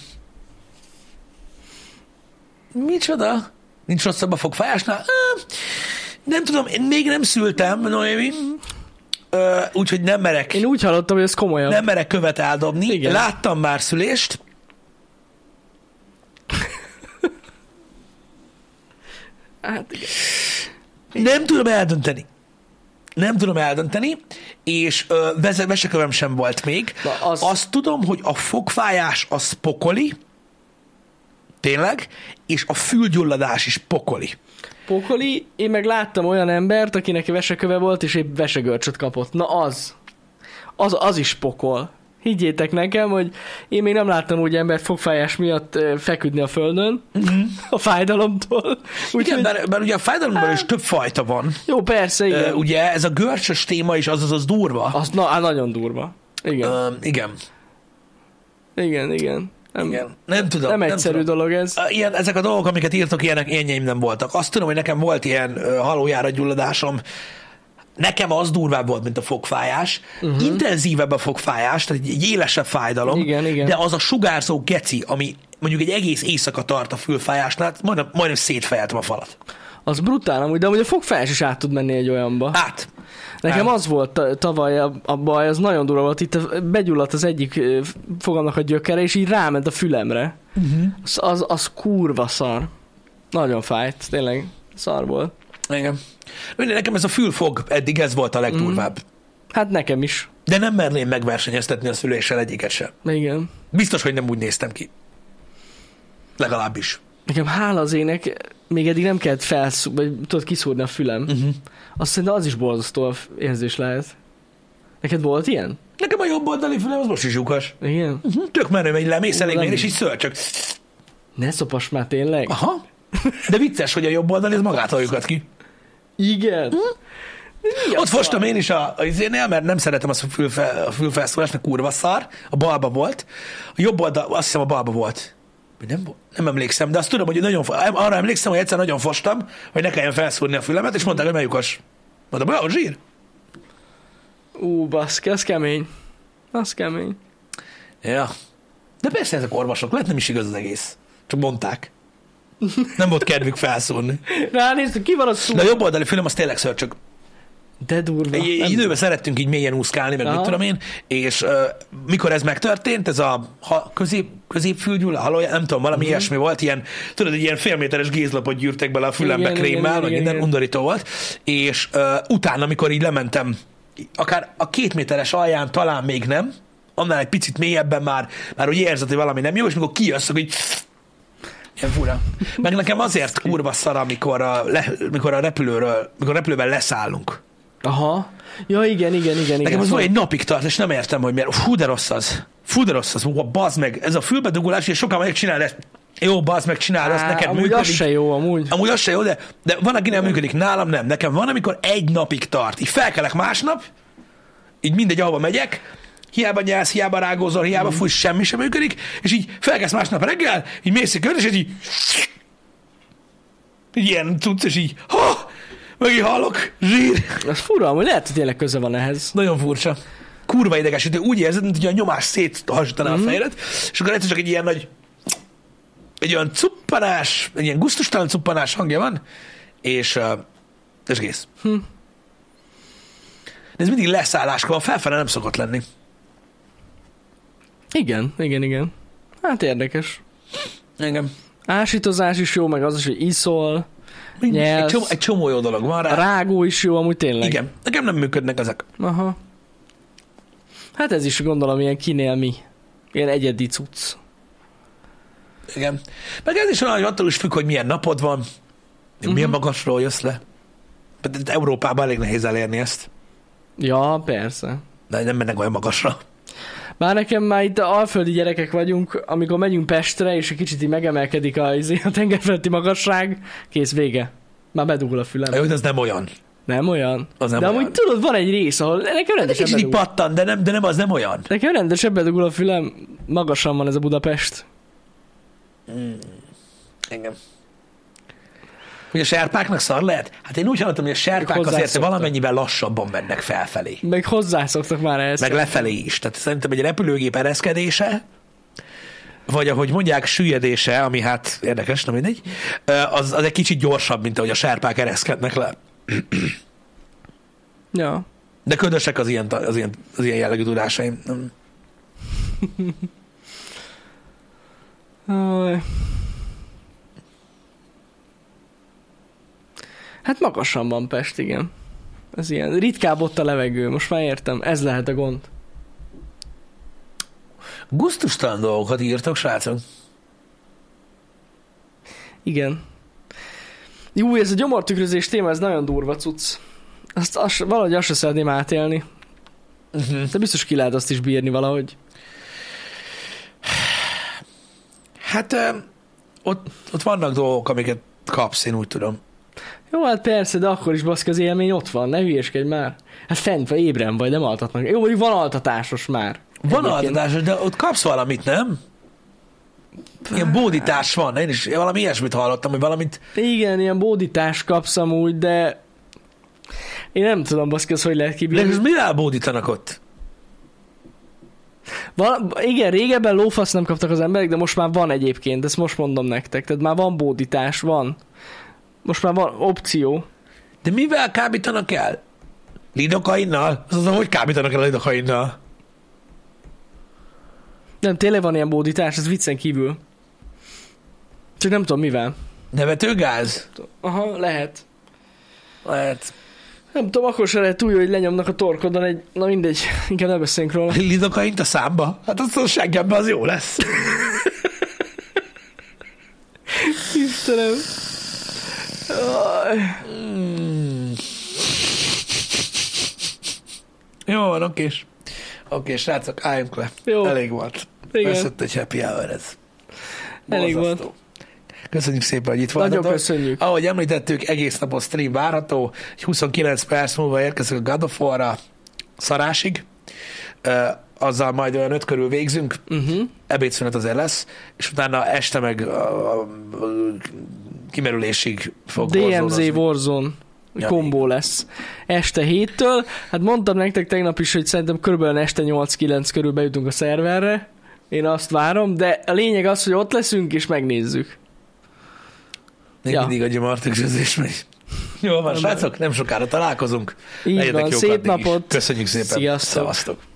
Micsoda? Nincs rosszabb a fogfájásnál? Á, Nem tudom, én még nem szültem, Noémi, Ö, úgyhogy nem merek,
Én úgy hallottam, hogy ez komolyabb.
nem merek követ eldobni.
Igen.
Láttam már szülést.
Hát, igen.
Nem tudom eldönteni. Nem tudom eldönteni, és ö, veze- vesekövem sem volt még.
Na, az-
Azt tudom, hogy a fogfájás az pokoli, tényleg, és a fülgyulladás is pokoli.
Pokoli, én meg láttam olyan embert, akinek veseköve volt, és épp vesegörcsöt kapott. Na az. Az, az is pokol. Higgyétek nekem, hogy én még nem láttam úgy embert fogfájás miatt ö, feküdni a földön, a fájdalomtól.
Igen,
Úgyhogy,
bár, bár ugye a fájdalomban is több fajta van.
jó, persze, igen.
Ö, ugye ez a görcsös téma is, azaz az durva.
Az na, á, nagyon durva. Igen,
Ö, igen,
igen, igen. Nem, igen.
igen. Nem tudom.
nem egyszerű
tudom.
dolog ez.
Ö, Ilyen, ezek a dolgok, amiket írtok, ilyenek énjeim nem voltak. Azt tudom, hogy nekem volt ilyen ö, halójára gyulladásom. Nekem az durvább volt, mint a fogfájás.
Mhm.
Uh-huh. Intenzívebb a fogfájás, tehát egy, egy élesebb fájdalom.
Igen, igen.
De az a sugárzó geci, ami mondjuk egy egész éjszaka tart a fülfájásnál, hát majdnem, majdnem szétfejeltem a falat.
Az brutál amúgy, de amúgy a fogfájás is át tud menni egy olyanba.
Hát,
Nekem
nem.
az volt ta- tavaly a, a baj, az nagyon durva volt. Itt a- begyulladt az egyik ö, fogamnak a gyökere, és így ráment a fülemre.
Mhm.
Uh-huh. Az, az, az kurva szar. Nagyon fájt, tényleg szar volt.
igen. Mindegy, Nekem ez a fülfog eddig ez volt a legdurvább.
Hát nekem is.
De nem merném megversenyeztetni a szüléssel egyiket sem.
Igen.
Biztos, hogy nem úgy néztem ki. Legalábbis.
Nekem hála az ének, még eddig nem kellett felszú, vagy tudod kiszúrni a fülem.
Mhm.
Azt szerintem az is borzasztó érzés lehet. Neked volt ilyen?
Nekem a jobb oldali fülem az most is lyukas. Mhm,
Igen?
Tök menő, hogy lemész elég
nem.
és így ször, csak
Ne szopass már tényleg.
Aha. De vicces, hogy a jobb oldal ez magától lyukat ki.
Igen.
Mhm.
Mi a
Ott
szar?
fostam én is a, a izénél, mert nem szeretem azt a, fülfe, a fülfelszólást, mert kurva szar. A balba volt. A jobb oldal, azt hiszem a balba volt. Vagy Nem, volt? nem emlékszem, de azt tudom, hogy nagyon, fo- arra emlékszem, hogy egyszer nagyon fostam, hogy ne kelljen felszúrni a fülemet, és mondták, hogy melyikos. Mondom, hogy zsír.
Ú, baszki, az kemény. Az kemény.
Ja. De persze ezek orvosok, lehet nem is igaz az egész. Csak mondták. Nem volt kedvük felszúrni.
Ránézd, ki van a szó?
De a jobb oldali fülem az tényleg szörcsög.
De durva.
Egy, egy időben szerettünk így mélyen úszkálni, meg
Aha.
mit tudom én, és uh, mikor ez megtörtént, ez a ha, közép, középfülgyúl, a halója, nem tudom,
Mhm.
valami ilyesmi volt, ilyen, tudod, egy ilyen félméteres gézlapot gyűrtek bele a fülembe
Igen, igen,
krémmel, meg
igen, igen,
minden
igen.
undorító volt, és uh, utána, amikor így lementem, akár a két méteres alján talán még nem, annál egy picit mélyebben már, már úgy érzed, hogy valami nem jó, és mikor kijössz, akkor így Ilyen fura. Meg nekem azért kurva szar, amikor a, le, mikor a repülőről, mikor a repülőben leszállunk.
Aha. Ja, igen, igen, igen.
Nekem
igen.
az
Szóval-
olyan egy napig tart, és nem értem, hogy miért. Fú, de rossz az. Fú, de rossz az. Hú, bazd meg. Ez a fülbedugulás, és sokan megcsinál ezt. Jó, bazd meg, csinál azt,
Á,
neked
amúgy
működik.
az se jó, amúgy.
Amúgy az se jó, de, de van, aki nem működik, nálam nem. Nekem van, amikor egy napig tart. Így felkelek másnap, így mindegy, ahova megyek, hiába nyelsz, hiába rágózol, hiába
Mhm.
fúj, semmi sem működik, és így felkelsz másnap reggel, így mész egy kört, és így, így ilyen tudsz, és így, ha, meg így hallok, zsír.
Az fura, amúgy lehet, hogy tényleg köze van ehhez.
Nagyon furcsa. Kurva idegesítő. Úgy érzed, mint hogy a nyomás széthasítaná mm. a fejedet, és akkor egyszer csak egy ilyen nagy, egy olyan cuppanás, egy ilyen guztustalan cuppanás hangja van, és, ö, és kész. Hm. De ez mindig leszálláskor van, felfele nem szokott lenni.
Igen, igen, igen. Hát érdekes.
Engem.
Ásítozás is jó, meg az is, hogy iszol.
Egy
Nyelsz.
csomó, egy csomó jó dolog van rá.
A
rá.
rágó is jó, amúgy tényleg.
Igen, nekem nem működnek ezek.
Aha. Hát ez is gondolom ilyen kinél mi. Ilyen egyedi cucc.
Igen. Meg ez is olyan, hogy attól is függ, hogy milyen napod van, milyen uh-huh. magasról jössz le. De de Európában elég nehéz elérni ezt.
Ja, persze.
De nem mennek olyan magasra.
Bár nekem már itt alföldi gyerekek vagyunk, amikor megyünk Pestre, és egy kicsit így megemelkedik a, izé- a tengerfeletti magasság, kész vége. Már bedugul a fülem.
Jó, de ez nem olyan.
Nem olyan?
Az nem
de
olyan.
amúgy tudod, van egy rész, ahol nekem
De
rendesen
kicsit így
bedugul.
pattan, de nem, de nem az nem olyan.
Nekem rendesen bedugul a fülem, magasan van ez a Budapest.
Engem. Hogy a serpáknak szar lehet? Hát én úgy hallottam, hogy a serpák
Ők
azért
hozzászoktak.
valamennyivel lassabban mennek felfelé.
Meg hozzászoktak már ehhez.
Meg lefelé is. Tehát szerintem egy repülőgép ereszkedése, vagy ahogy mondják, süllyedése, ami hát érdekes, nem mindegy, az, az egy kicsit gyorsabb, mint ahogy a serpák ereszkednek le.
Ja.
De ködösek az ilyen, az ilyen, az ilyen jellegű tudásaim. Nem.
Aj. Hát magasan van Pest, igen. Ez ilyen. Ritkább ott a levegő, most már értem. Ez lehet a gond.
Gusztustalan dolgokat írtok, srácok.
Igen. Jó, ez a gyomortükrözés téma, ez nagyon durva cucc. Azt, azt valahogy azt se szeretném átélni.
Uh-huh.
De biztos ki lehet azt is bírni valahogy.
Hát ö, ott, ott vannak dolgok, amiket kapsz, én úgy tudom.
Jó, hát persze, de akkor is baszki az élmény ott van, ne hülyéskedj már. Hát fent vagy, ébren vagy, nem altatnak. Jó, hogy van altatásos már.
Van
Egyébként.
altatás, de ott kapsz valamit, nem? Ilyen bódítás van, én is én valami ilyesmit hallottam, hogy valamit...
Igen, ilyen bódítást kapsz amúgy, de én nem tudom, baszki, az hogy lehet
De
kibírni.
most mivel bódítanak ott?
Val- igen, régebben lófasz nem kaptak az emberek, de most már van egyébként, ezt most mondom nektek. Tehát már van bódítás, van. Most már van opció.
De mivel kábítanak el? Lidokainnal? Az az, hogy kábítanak el a lidokainnal?
Nem, tényleg van ilyen bódítás, ez viccen kívül. Csak nem tudom mivel.
Nevetőgáz?
Aha, lehet.
Lehet.
Nem tudom, akkor se lehet úgy, hogy lenyomnak a torkodon egy... Na mindegy, inkább ne beszéljünk róla.
Lidokaint a számba? Hát azt a seggembe az jó lesz.
Istenem. Aj.
Jó van, okés. Oké, srácok, álljunk le.
Jó.
Elég volt.
Igen.
Veszett egy happy hour ez.
Elég volt.
Borzasztó. Köszönjük szépen, hogy itt
Nagyon
voltatok.
köszönjük.
Ahogy említettük, egész napon stream várható, egy 29 perc múlva érkezik a God of War-ra szarásig, Ö, azzal majd olyan öt körül végzünk,
Uh-huh.
ebédszünet azért lesz, és utána este meg a, a, a, kimerülésig fog
DMZ
borzolózni.
Warzone
Ja,
kombó lesz. Este héttől. Hát mondtam nektek tegnap is, hogy szerintem körülbelül este 8-9 körül bejutunk a szerverre. Én azt várom, de a lényeg az, hogy ott leszünk és megnézzük.
Még
Ja.
mindig a gyomortükrözés megy. Jó van, srácok, nem sokára találkozunk.
Így
Legyetek
van,
jók
szép
addig is.
napot!
Köszönjük szépen.
Sziasztok.
Szevasztok.